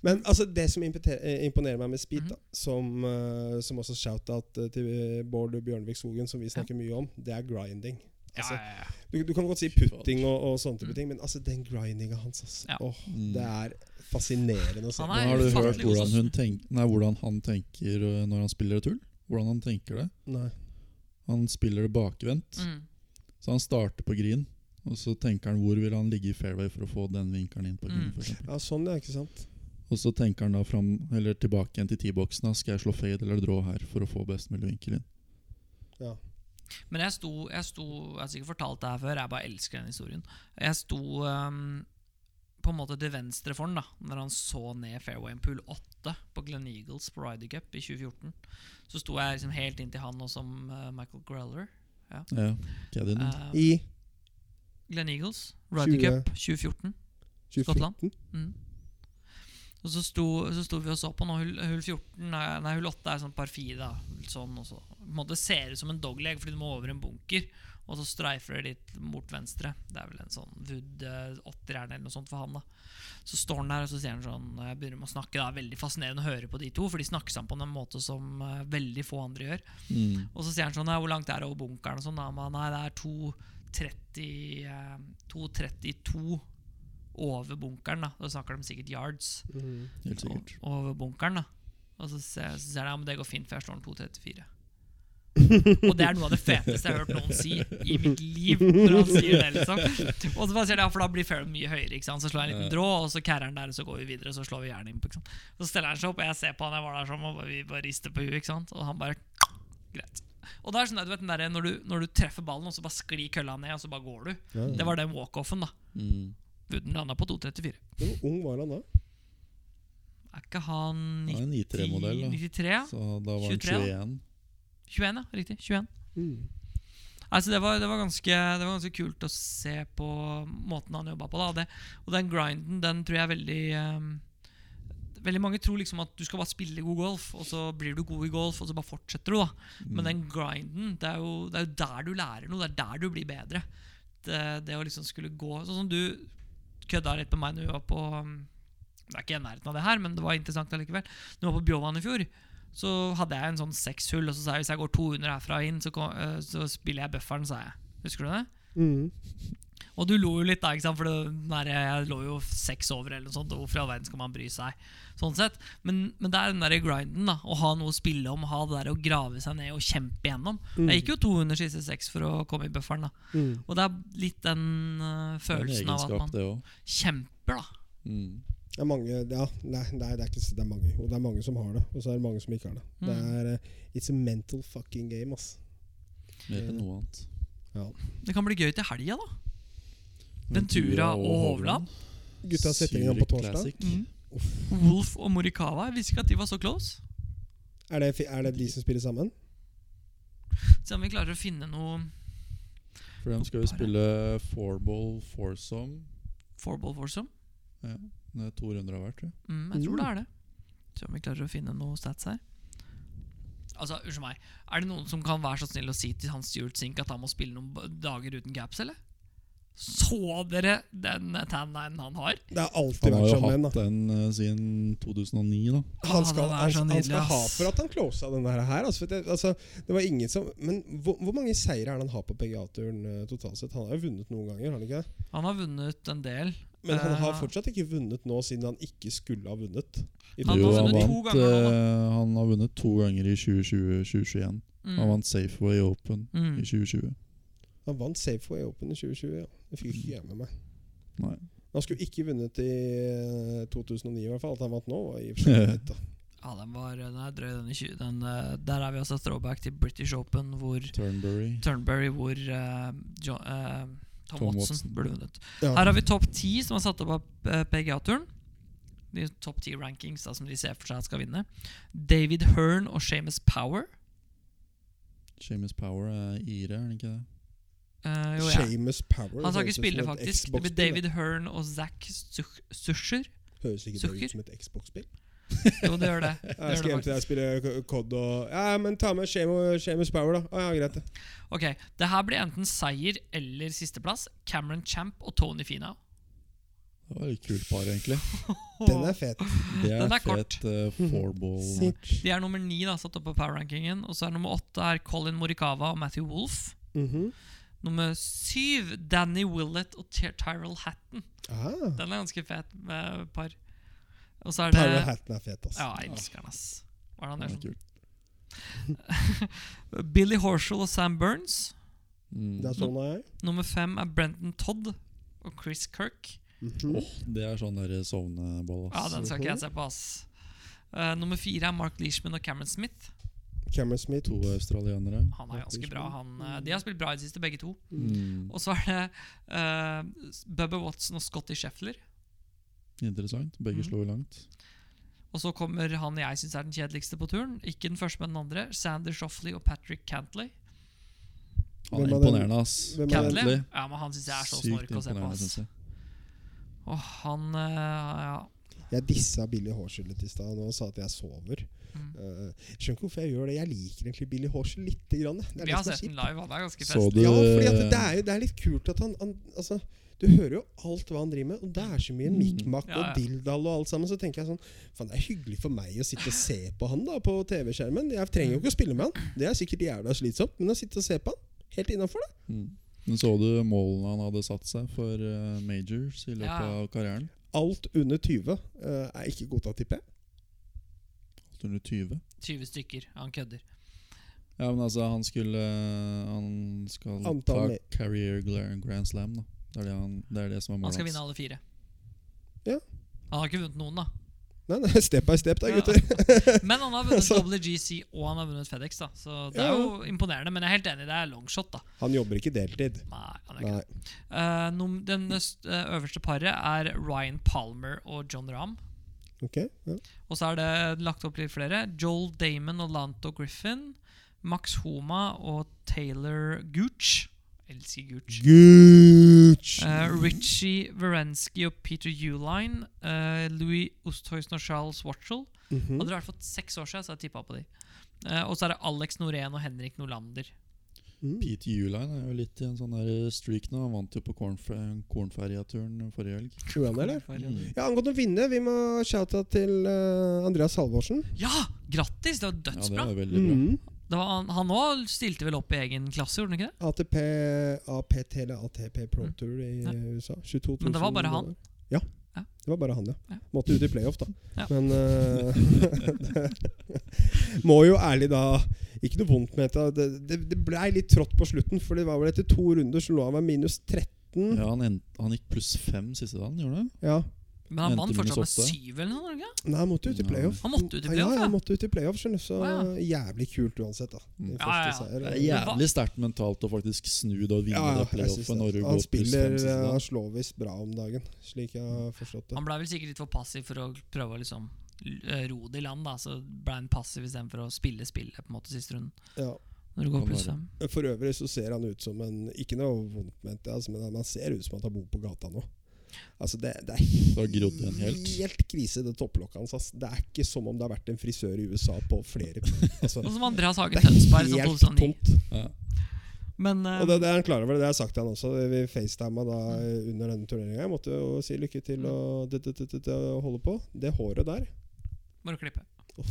men altså, det som impete- eh, imponerer meg med
Mm.
Speed, da, som, eh, som også shout-out eh, til eh, Bård Bjørnvik Skogen, som vi snakker mye om, det er grinding.
ja,
Altså,
ja, ja.
du, du kan godt si putting og, og sånne type ting, men altså, den grindinga hans, altså.
Ja.
Åh, det er fascinerende å se.
Han
Men
er liksom-
har du hørt
ufattelig god
hvordan,
som-
hun tenk, nei, hvordan han tenker øh, når han spiller retur? Hvordan han tenker det?
Nei.
Han spiller det bakvendt.
Mm.
Så han starter på green, og så tenker han hvor vil han ligge i fairway for å få den vinkelen inn på green.
Mm.
For eksempel.
Ja, sånn, ja. Ikke sant?
og så tenker han da fram, eller tilbake igjen til T-boksen. da. Skal jeg slå fade eller draw her for å få best mulig vinkel inn?
Ja.
Men jeg sto, jeg sto Jeg har sikkert fortalt det her før, jeg bare elsker den historien. Jeg sto ehm, på en måte til venstre for den da Når han så ned fairwayen pool 8 på Glen Eagles på Ryder Cup i 2014. Så sto jeg liksom helt inntil han og som eh, Michael Greller.
Ja, Caddien.
Eh,
I
Glen Eagles,
20.
Ryder Cup 2014.
2014.
Mm. Og så sto, så sto vi og så på nå, hull, hull 14 er, Nei, hull 8 er sånn par 4 da Sånn og så På en måte ser det ut som en dogleg Fordi du må over en bunker Og så streifer det litt mot venstre Det er vel en sånn Wood 8 eller noe sånt for han da Så står han der og så sier han sånn og Jeg begynner med å snakke Det er veldig fascinerende å høre på de to For de snakker sammen på en måte som eh, veldig få andre gjør
Mm.
og så sier han sånn «Nei, Hvor langt er det over bunkeren? Og sånn, da, men nei, det er 2.30, eh, 2.32 over bunkeren. Da Da snakker de sikkert yards
Helt
o-
sikkert.
over bunkeren. da Og så ser så sier han ja, men det går fint, for jeg slår den 2.34. og det er noe av det feteste jeg har hørt noen si i mitt liv. Når han sier det liksom Og så bare sier det, ja, for da blir fairen mye høyere. Ikke sant? Så slår jeg en liten drå, og så carrer han der, og så går vi videre. Og så slår vi jernet innpå. ikke sant? Så steller han seg opp, og jeg ser på han jeg var der sånn, og bare- vi bare rister på huet. ikke sant? Og han bare Greit. Og det er sånn der, du vet, den der, når, du, når du treffer ballen, og så bare sklir kølla ned, og så bare går du.
Ja.
Det var den walkoffen, da.
Mm.
Wooden landa på 2.34.
Hvor ung var han da?
Er ikke han
Han er en
90,
I3-modell, da.
93? Ja?
Så da var
23,
han
da.
21.
21, ja. Riktig. 21.
Mm.
Altså, det, var, det, var ganske, det var ganske kult å se på måten han jobba på. Da. Det, og den grinden, den tror jeg veldig ehm, Veldig mange tror liksom at du skal bare spille god golf, og så blir du god i golf, og så bare fortsetter du. da
Mm.
Men den grinden, det er, jo, det er jo der du lærer noe. Det er der du blir bedre. Det, det å liksom skulle gå Sånn som du kødda litt med meg når vi var på ehm, Det er ikke i nærheten av det her, men det var interessant allikevel. Når vi var på Bjovan i fjor, så hadde jeg en sånn seks hull, og så sa jeg hvis jeg går 200 herfra inn, så, kom, eh, så spiller jeg bufferen, sa jeg. Husker du det?
Mm.
Og du lo jo litt da, ikke sant? for det, nei, jeg lå jo seks over eller noe sånt. og Hvorfor i all verden skal man bry seg? Sånn sett. Men, men det er den der grinden, da. Å ha noe å spille om, ha det der å grave seg ned og kjempe igjennom.
Mm.
Jeg gikk jo 200 siste seks for å komme i bufferen, da.
Mm.
Og det er litt den eh,
Det er en
følelsen av at
egenskap,
man
det òg.
kjemper, da.
Mm.
Det er mange ja, nei, nei, det er ikke det er mange. Og det er mange som har det, og så er det mange som ikke har det. Det
Mm.
er eh, It's a mental fucking game, ass.
Mer enn noe annet.
Det kan bli gøy til helga, da. Ventura og Hovland.
Gutta setter i gang på
Zurich
torsdag.
Classic.
Mm. Wolf og Morikawa. Jeg visste ikke at de var så close.
Er det, fi- er det de som spiller sammen?
Se om vi klarer å finne noe
For de skal jo spille fourball foursome.
Fourball foursome.
Ja, det er to runder av hver, tror jeg.
Mm, jeg tror det
Mm.
er det. Se om vi klarer å finne noe stats her. Altså, Unnskyld meg. Er det noen som kan være så snill å si til han Stuart Sink at han må spille noen b- dager uten caps, eller? Så dere den eh, tanlinen han har?
Det har alltid
Han har
vært
jo
sånn med en,
hatt
da.
den eh, siden 2009, da.
Han
Ah,
skal,
den
han,
er så
han skal
nydelig,
ha
ass.
for at han closa den der her. Altså, for det, altså, det var ingen som Men hvor, hvor mange seire er det han har på PGA-turen eh, totalt sett? Han har jo vunnet noen ganger, har han ikke det?
Han har vunnet en del.
Men han har
Eh.
fortsatt ikke vunnet nå, siden han ikke skulle ha vunnet. I
Han har
Jo,
fjor.
vunnet to ganger nå, da.
eh, han har vunnet to ganger i 2020-2021.
Mm.
Han vant Safeway Open
Mm.
i 2020.
Han vant Safeway Open i 2020, ja. Det fikk ikke jeg med meg.
Nei.
Han skulle ikke vunnet i eh, 2009, i hvert fall. At han vant nå, var i og for seg litt, da.
Ja, den var den er drøy, den i 20. Den, eh, der er vi altså throwback til British Open, hvor
Turnberry.
Turnberry, hvor eh, jo, eh, Tom,
Tom
Watson,
Watson.
burde vunnet.
Ja.
Her har vi topp ti som er satt opp av eh, PGA-turen. De topp ti rankings da, som de ser for seg at skal vinne. David Hearn og Seamus Power.
Seamus Power er ire, er han ikke det?
Eh, jo, ja.
Seamus Power.
Han skal
høres ut
ikke
som
spille,
et
faktisk. Det blir
Xbox-spill,
David Hearn og Zack Such- Susher.
det. Høres ikke det
Zucker.
ut som et Xbox-spill?
Jo, det gjør det.
Jeg skal hjem til deg og spille K- COD og Ja, men ta med Seamus Seamus Power, da. Å, ja, greit, det.
Ok, Det her blir enten seier eller sisteplass. Cameron Champ og Tony Finau.
Det var et kult par, egentlig.
Den er fet.
Det er,
Den er
fet
kort.
uh,
Mhm.
fourball.
De er nummer ni da, satt opp på power-rankingen. Og så er nummer åtte er Colin Morikawa og Matthew Wolff.
Mhm.
Nummer syv, Danny Willett og Ty- Tyrell Hatton.
Ah,
Den er ganske fet med par. Og så er det
Power Hatten er fet, altså.
Ja, jeg elsker den, ass. Hva er
Den
det
er
han gjør
kul.
sånn? Billy Horshall og Sam Burns.
Mm.
Det er sånn jeg er.
Nummer fem er Brenton Todd og Chris Kirk.
Mhm.
Det er sånn der sovneball,
Ja,
ass.
den skal ikke jeg se på, ass. Eh, nummer fire er Mark Leishman og Cameron Smith.
Cameron Smith.
To australienere.
Han er ganske bra. Han, eh, de har spilt bra i det siste, begge to.
Mm.
Og så er det uh, Bubba Watson og Scotty Scheffler.
Interessant. Begge
Mm.
slår langt.
Og så kommer han jeg syns er den kjedeligste på turen. Ikke den første, men den andre. Sander Shoffley og Patrick Cantley.
Han
Hvem
er
er den-
imponerende, ass.
hvem er den-
Cantley? Ja, men han syns jeg er så snork å se på.
synes
ass.
jeg.
Og han eh, ja.
Jeg dissa Billy Horshall litt i stad nå og sa at jeg sover.
Mm.
Eh, skjønner ikke hvorfor jeg gjør det. Jeg liker egentlig Billy Horshall lite grann. jeg. Det er
Vi
det
har
som er
sett den
kjipt.
live, han er ganske
Så
fest.
du-
Ja, fordi at det er jo det er litt kult at han, han altså, Du hører jo alt hva han driver med, og det er så mye mikk-makk
Ja, ja.
og dilldall og alt sammen. Så tenker jeg sånn Faen, det er hyggelig for meg å sitte og se på han da på TV-skjermen. Jeg trenger jo ikke å spille med han. Det er sikkert jævla slitsomt, men å sitte og se på han, helt innafor det.
Mm. Men så du målene han hadde satt seg for eh, majors i løpet
Ja.
av karrieren?
Alt under 20 eh, er ikke godtatt, tipper jeg.
820.
20 stykker. Han kødder.
Ja, men altså, han skulle eh, Han skal
Antall
ta
med-
career gla- grand slam, da. Det er det, han, det, er det som er
Han
målet
skal vinne alle fire.
Ja.
Han har ikke vunnet noen, da.
Nei, nei, Step by step, da,
Ja.
gutter.
Men han har vunnet WGC og han har vunnet FedEx, da. Så det er
Ja.
jo imponerende. Men jeg er helt enig, det er longshot, da.
Han jobber ikke deltid.
Nei, han er ikke
Nei.
Eh, nom- den øst- eh, øverste paret er Ryan Palmer og John Rahm.
Ok? Ja.
Og så er det lagt opp litt flere. Joel Damon og Lanto Griffin. Max Homa og Taylor Gooch. Elsker Gooch.
Gooch!
Eh, Richie Verensky og Peter Uline. eh, Louis Osthuizen og Charles Watchell.
Mhm.
Hadde det vært for seks år siden, så hadde jeg tippa på de. Eh, og så er det Alex Norén og Henrik Nolander.
Mm.
Pete Uline er jo litt i en sånn der streak nå. Han vant jo på kornfe- kornferjaturen forrige helg.
Tror han det, eller?
Mm.
Ja, angående å vinne, vi må shout-out til eh, Andreas Halvorsen.
Ja! Grattis! Det var
Ja, det
dødsbra.
er veldig bra.
Mm.
Det var, han- han òg stilte vel opp i egen klasse, gjorde han ikke det?
ATP, APT eller ATP Pro
Mm.
Tour i
Ja.
USA. 22 000
Men det var bare han?
dollar. Ja.
Ja.
Det var bare han, ja.
Ja.
Måtte ut i playoff, da.
Ja.
Men eh, Må jo ærlig da Ikke noe vondt med dette. Det, det, det blei litt trått på slutten, for det var vel etter to runder så lå han ved minus 13. Ja.
Ja, han, end, han gikk pluss fem siste dagen, gjorde han?
Men han
Endte
vant fortsatt med
Minnesota.
syv eller noe? ikke?
Nei, han måtte ut i
Ja.
playoff.
Han måtte ut i
Ja,
playoff,
ja,
ja.
han måtte ut i playoff, skjønder du. Så
Å,
jævlig kult uansett, da.
Mm.
Din
Ja,
første
ja, ja.
seier.
Det er
Ja.
jævlig sterkt mentalt å faktisk snu det og vinne
Ja,
det
jeg synes
playoffet når du
det.
går
Han
pluss fem
spiller
siste
eh, Han
dagen.
slår visst bra om dagen, slik jeg har forstått det.
Han ble vel sikkert litt for passiv for å prøve å liksom l- eh, ro det i land. da Så ble han passiv istedenfor å spille spillet på en måte siste runden.
Ja.
Når du går
Kan
pluss
være.
fem.
For øvrig så ser han ut som en Ikke noe vondt ment, det, altså, men han ser ut som han har bodd på gata nå. Altså Det, det er
har grodd igjen helt.
helt krise, det topplokket hans. ass. Det er ikke som om det har vært en frisør i USA på flere altså,
Sånn som Andreas Hage
Det er
Tønsberg fra
helt
2009.
tomt.
Ja.
Men eh,
Og det, det er han klar over, det har jeg sagt til han også. Vi facetima da
Mm.
eh, under denne turneringa. Jeg måtte jo si lykke til og det, det, det, det, det, holde på. Det håret der
må du klippe.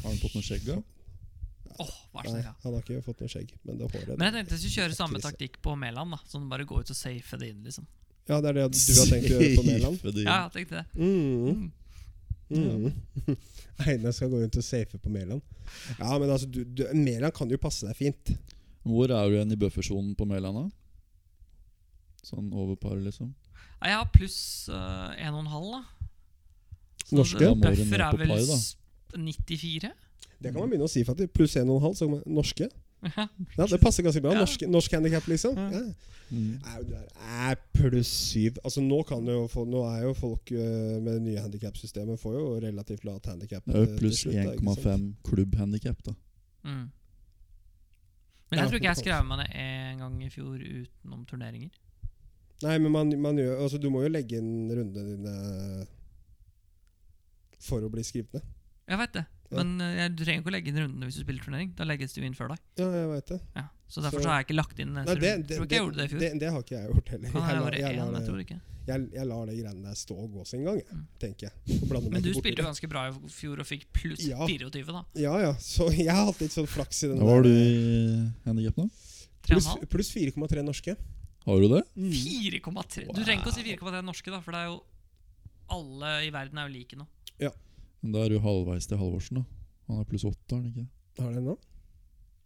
Har han fått noe skjegg, da?
Åh, vær så
Nei,
snill. ja.
han har ikke fått noe skjegg, men det håret
Men jeg
der.
tenkte jeg skulle kjøre samme
Krise.
taktikk på Mæland. da Sånn bare gå ut og safe det inn, liksom.
Ja, det er det du har tenkt å gjøre på Mæland?
Safe deal.
Ja, jeg tenkte det.
Mm.
Mm.
Mm. Einar skal gå rundt og safe på Mæland. Ja, men altså, du, du, Mæland kan jo passe deg fint.
Hvor er du igjen i buffersonen på Mæland, da? Sånn over par, liksom?
Nei, Jeg har pluss eh, en og en halv, da. Så
Norske?
det-
Da må du
Buffer
ned
er
på
vel
par, da.
s- 94?
Det kan man begynne å si, faktisk. Pluss 1,5, så kommer norske. Ja, Det passer ganske bra.
Ja.
Norsk, norsk handikap, liksom.
Ja.
Ja.
Mm.
Nei, det er pluss 7. Altså, nå, kan jo, få- nå er jo folk øh, med det nye handikapsystemet får jo relativt lavt eh, handikap.
Det er jo pluss 1,5 klubbhandikap, da.
Mm. Men
Ja,
jeg tror ikke jeg
det
skrev meg ned en gang i fjor utenom turneringer.
Nei, men man, man gjør Altså, du må jo legge inn rundene dine for å bli skrevet ned.
Jeg vet det,
Ja.
men eh, jeg du trenger ikke å legge inn rundene hvis du spiller turnering. Da legges det jo inn før deg.
Ja, jeg veit det.
Ja. Så derfor
Så-
så, har jeg ikke lagt inn neste
Nei, det,
runde.
det,
Tror ikke jeg gjorde det i fjor.
det, det har ikke jeg gjort heller.
Kan
Jeg
jeg
lar-
være
jeg lar
én?
det-
Jeg tror ikke.
jeg, jeg lar de greiene der stå og gå sin gang, jeg,
Mm.
tenker jeg. Og blander meg
Men du
ikke borti
spilte jo
det.
ganske bra i fjor og fikk pluss
Ja.
24, da.
Ja, ja. Så jeg har hatt litt sånn flaks i den
Da var du
der.
i handikap nå?
Pluss
3,5.
pluss 4,3 norske.
Har du det?
Mm.
4,3! Du trenger ikke å si 4,3 norske, da, for det er jo alle i verden er jo like nå.
Men da er du halvveis til Halvorsen, da. Han er pluss åtte, er han ikke?
Har det nå?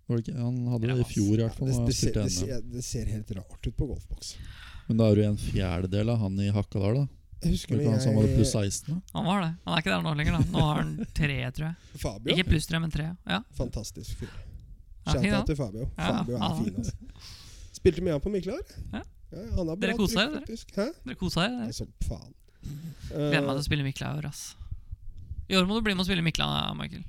Var det ikke? Han hadde
Ja,
det i fjor, i hvert fall.
det,
da han
det, ser,
spilte
det,
NM.
ser, det ser helt rart ut på golfboks.
Men da er du en fjerdedel av han i Hakadal,
Jeg
da. Var
husker
det ikke han som hadde pluss
når jeg
16, da?
Han var det. Han er ikke der nå lenger, da. Nå har han tre, tror jeg.
Fabio,
Ikke pluss tre, men tre. Ja.
fantastisk fyr.
Ja, fin,
Shout-out
han.
til Fabio.
Ja,
Fabio er
han-
fin, altså. Spilte mye han på Miklar.
Ja.
han har bra
Dere
trykk,
koser dere, dere?
faktisk. Hæ?
Dere koser
Nei,
dere.
som faen.
Gleder meg
Eh,
til å spille Mikla i år, ass. I år må du bli med og spille Mikla, Michael.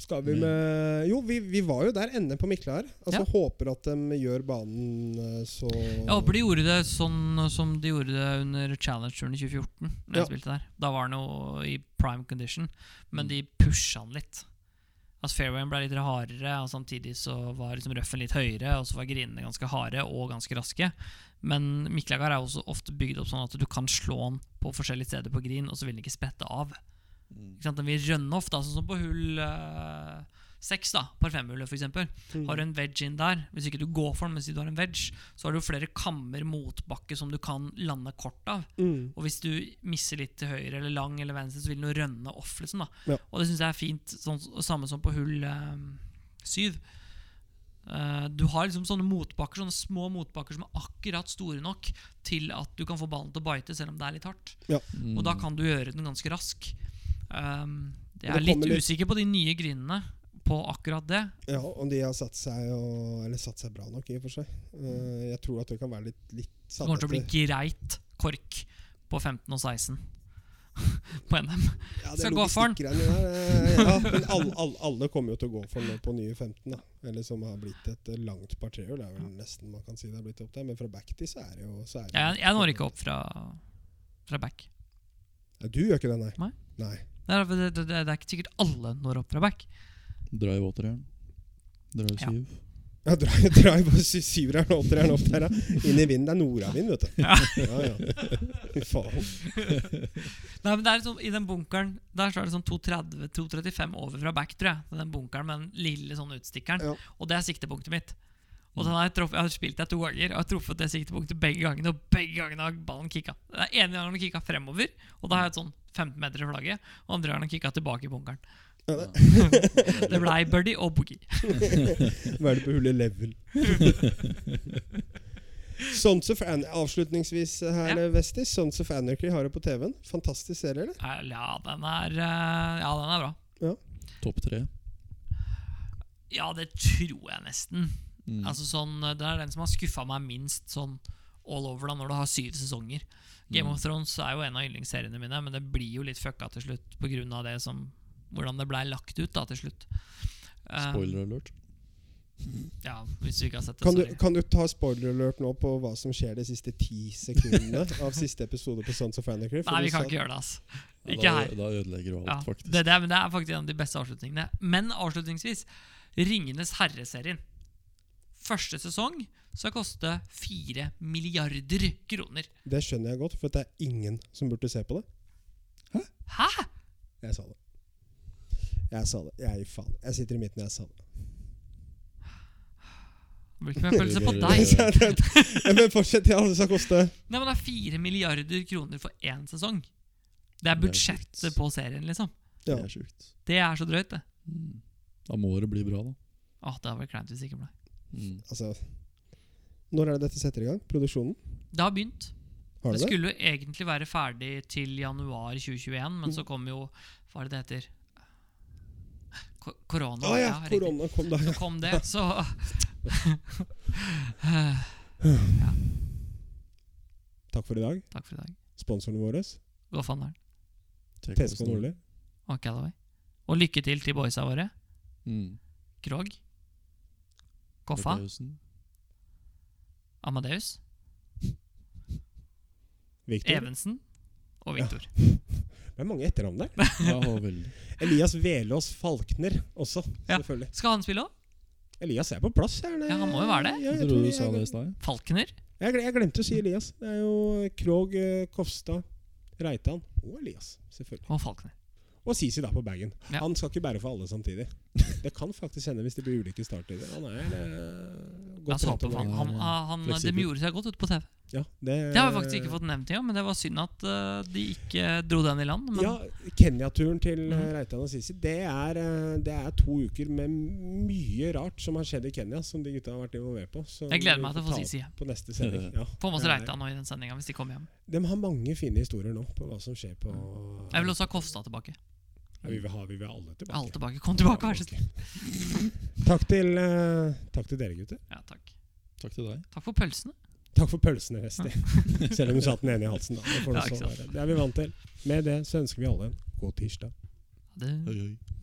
skal vi med Jo, vi, vi var jo der ende på Miklar. Altså
Ja.
Håper at de gjør banen eh, så
Jeg håper de gjorde det sånn som de gjorde det under Challenge-turen i 2014. Når
Ja.
jeg spilte der Da var han jo i prime condition, men de pusha han litt. Altså Fairwayen ble litt hardere, og samtidig så var liksom røffen litt høyere. Og så var grinene ganske harde og ganske raske. Men Miklagar er også ofte bygd opp sånn at du kan slå han på forskjellige steder på grin, og så vil den ikke sprette av. Ikke sant? Den vil rønne ofte, altså, sånn som på hull eh, seks, da, par femhullet for eksempel Har du en wedge inn der, hvis ikke du går for den, men si du har en wedge, så har du jo flere kammer motbakke som du kan lande kort av.
Mm.
Og hvis du misser litt til høyre eller lang eller venstre, så vil den jo rønne off. liksom da.
Ja.
Og det syns jeg er fint. Sånn, og samme som på hull eh, syv. Eh, du har liksom sånne motbakker, sånne små motbakker som er akkurat store nok til at du kan få ballen til å bite, selv om det er litt hardt. Og da kan du gjøre den ganske rask. Um,
Mm. Og
jeg er
det
litt
kommer litt-
usikker på de nye grinene på akkurat det.
Ja, om de har satt seg og, Eller satt seg bra nok, i og for seg. Eh, jeg tror at det kan være litt, litt
Det
satt
kommer til å bli
etter.
greit kork på 15 og 16 på NM.
Ja,
Skal gå for den.
logistikkgreiene der, eh, Ja, men alle, alle, alle kommer jo til å gå for den nå på nye 15, da. Eller som har blitt et eh, langt par trehull. Det er vel nesten man kan si det har blitt opp der. Men fra back til så er det jo så er det
Jeg, jeg når ikke opp fra, fra back.
Ja, du gjør ikke det, nei.
Nei.
nei.
Det er, det, det, det er ikke sikkert alle når opp fra back.
Drive åtteren. Drive
Ja.
syv.
Ja, dra, dra i bare sy- syveren og åtteren opp der, da. Inn i vinden. Det er nordavind, vet du.
Ja.
Ja, ja. Fy faen.
Nei, men det er sånn, I den bunkeren der så er det sånn 2,30-2,35 over fra back, tror jeg. Det er Den bunkeren med den lille sånn utstikkeren.
Ja.
Og det er siktepunktet mitt. Og den har jeg, truff, jeg har spilt det to ganger og jeg har truffet det siktepunktet begge gangene. Og begge gangene har ballen kicka. Den ene gangen har den kicka fremover, og da har jeg et sånn 15 meter i flagget. Og andre gangen har den kicka tilbake i bunkeren. det blei birdie og boogie.
Hva er det på hullet level? Sons of An Avslutningsvis her,
Ja.
Vestis. Sons of Anarchy har du på TV-en. Fantastisk serie, eller?
Ja, den er, eh, ja, den er bra.
Topp tre.
Ja, det tror jeg nesten.
Mm.
Altså sånn, Det er den som har skuffa meg minst sånn all over da, når du har syv sesonger. Game
Mm.
of Thrones er jo en av yndlingsseriene mine, men det blir jo litt fucka til slutt pga. det som hvordan det blei lagt ut da til slutt. Eh,
Spoiler alert.
ja, hvis du ikke har sett det,
Kan du,
sorry.
kan du ta spoiler alert nå på hva som skjer de siste ti sekundene av siste episode på Sons of Anarchy? For
Nei,
du
vi kan
sa-
ikke gjøre det, altså.
Ja,
Ikke
da,
her.
da ødelegger du alt,
Ja,
faktisk.
det, det, er, men det er faktisk en av de beste avslutningene. Men avslutningsvis, Ringenes herre-serien. Første sesong skal koste fire milliarder kroner.
Det skjønner jeg godt, for det er ingen som burde se på det.
Hæ?!
Jeg sa det. Jeg sa det. Jeg, faen. jeg sitter i midten, jeg sa det.
Det blir ikke mer følelse på deg.
Så er det- Ja, Eh, Men fortsett, ja. Det skal koste
Nei, men det er fire milliarder kroner for én sesong. Det er
Det er sjukt.
budsjettet på serien, liksom.
ja.
Det er sjukt.
Det er så drøyt, det.
Mm. Da må det bli bra, da.
Åh, det hadde vært kleint hvis det ikke ble.
Mm.
Altså Når er det dette setter i gang? Produksjonen?
Det har begynt.
Har
Det
du det?
skulle jo egentlig være ferdig til januar 2021, men så kom jo Hva er det det heter? Ko- Korona.
Å ja,
riktig.
korona kom da.
Så kom det, så
Takk for i dag.
Takk for i dag.
Sponsorene våre.
Gå fanderen.
Take us
TSK
Norway.
Nordli.
Og Callaway. Og lykke til til boysa våre.
Mm.
Krog. Koffa.
Bertheussen.
Amadeus.
Victor.
Evensen. Og Viktor.
Det er mange etternavn der.
Ja, veldig.
Elias Velås Falkner også,
Ja.
selvfølgelig.
Skal han spille òg?
Elias er på plass. Er
Ja, han må jo være det.
Ja,
Jeg
jeg,
trodde
tror
du sa det i
jeg,
stad.
Falkener.
jeg, gle- jeg glemte å si Elias. Det er jo Krog, eh, Kofstad, Reitan og Elias. selvfølgelig.
Og Falkener.
Og Sisi da på bagen.
Ja.
Han skal ikke bære for alle samtidig. Det kan faktisk hende hvis det blir ulike starttider. Han er eh,
La
godt
oss
rett
håpe
om
for han,
gangen.
han, han, De
Fleksibel.
gjorde seg godt ute på TV.
Ja, det,
Det har vi faktisk ikke fått nevnt igjen, men det var synd at eh, de ikke dro den i land. Men
Ja, Kenya-turen til eh,
Mhm.
Reitan og Sisi, det er, eh, det er to uker med mye rart som har skjedd i Kenya, som de gutta har vært involvert på. Så
jeg gleder
vi
meg til å
får
få
ta
Sisi hjem.
opp På neste sending. Ja.
Få med oss
Ja,
Reitan nå i den sendinga hvis de kommer hjem. Mm.
De har mange fine historier nå på hva som skjer på
Jeg vil også ha Kofstad tilbake.
Ja, vi, vil ha, vi vil ha alle tilbake.
Alle tilbake. Kom tilbake, vær så snill.
Takk til, eh, takk til dere, gutter.
Ja, takk.
Takk til deg.
Takk for pølsene.
Takk for pølsene, Vesti. Selv om du satt den ene i halsen. Da. Det, får
Ja,
det,
ikke
så
sant.
være. det er vi vant til. Med det så ønsker vi alle en god tirsdag.
Ha det.
Oi, oi.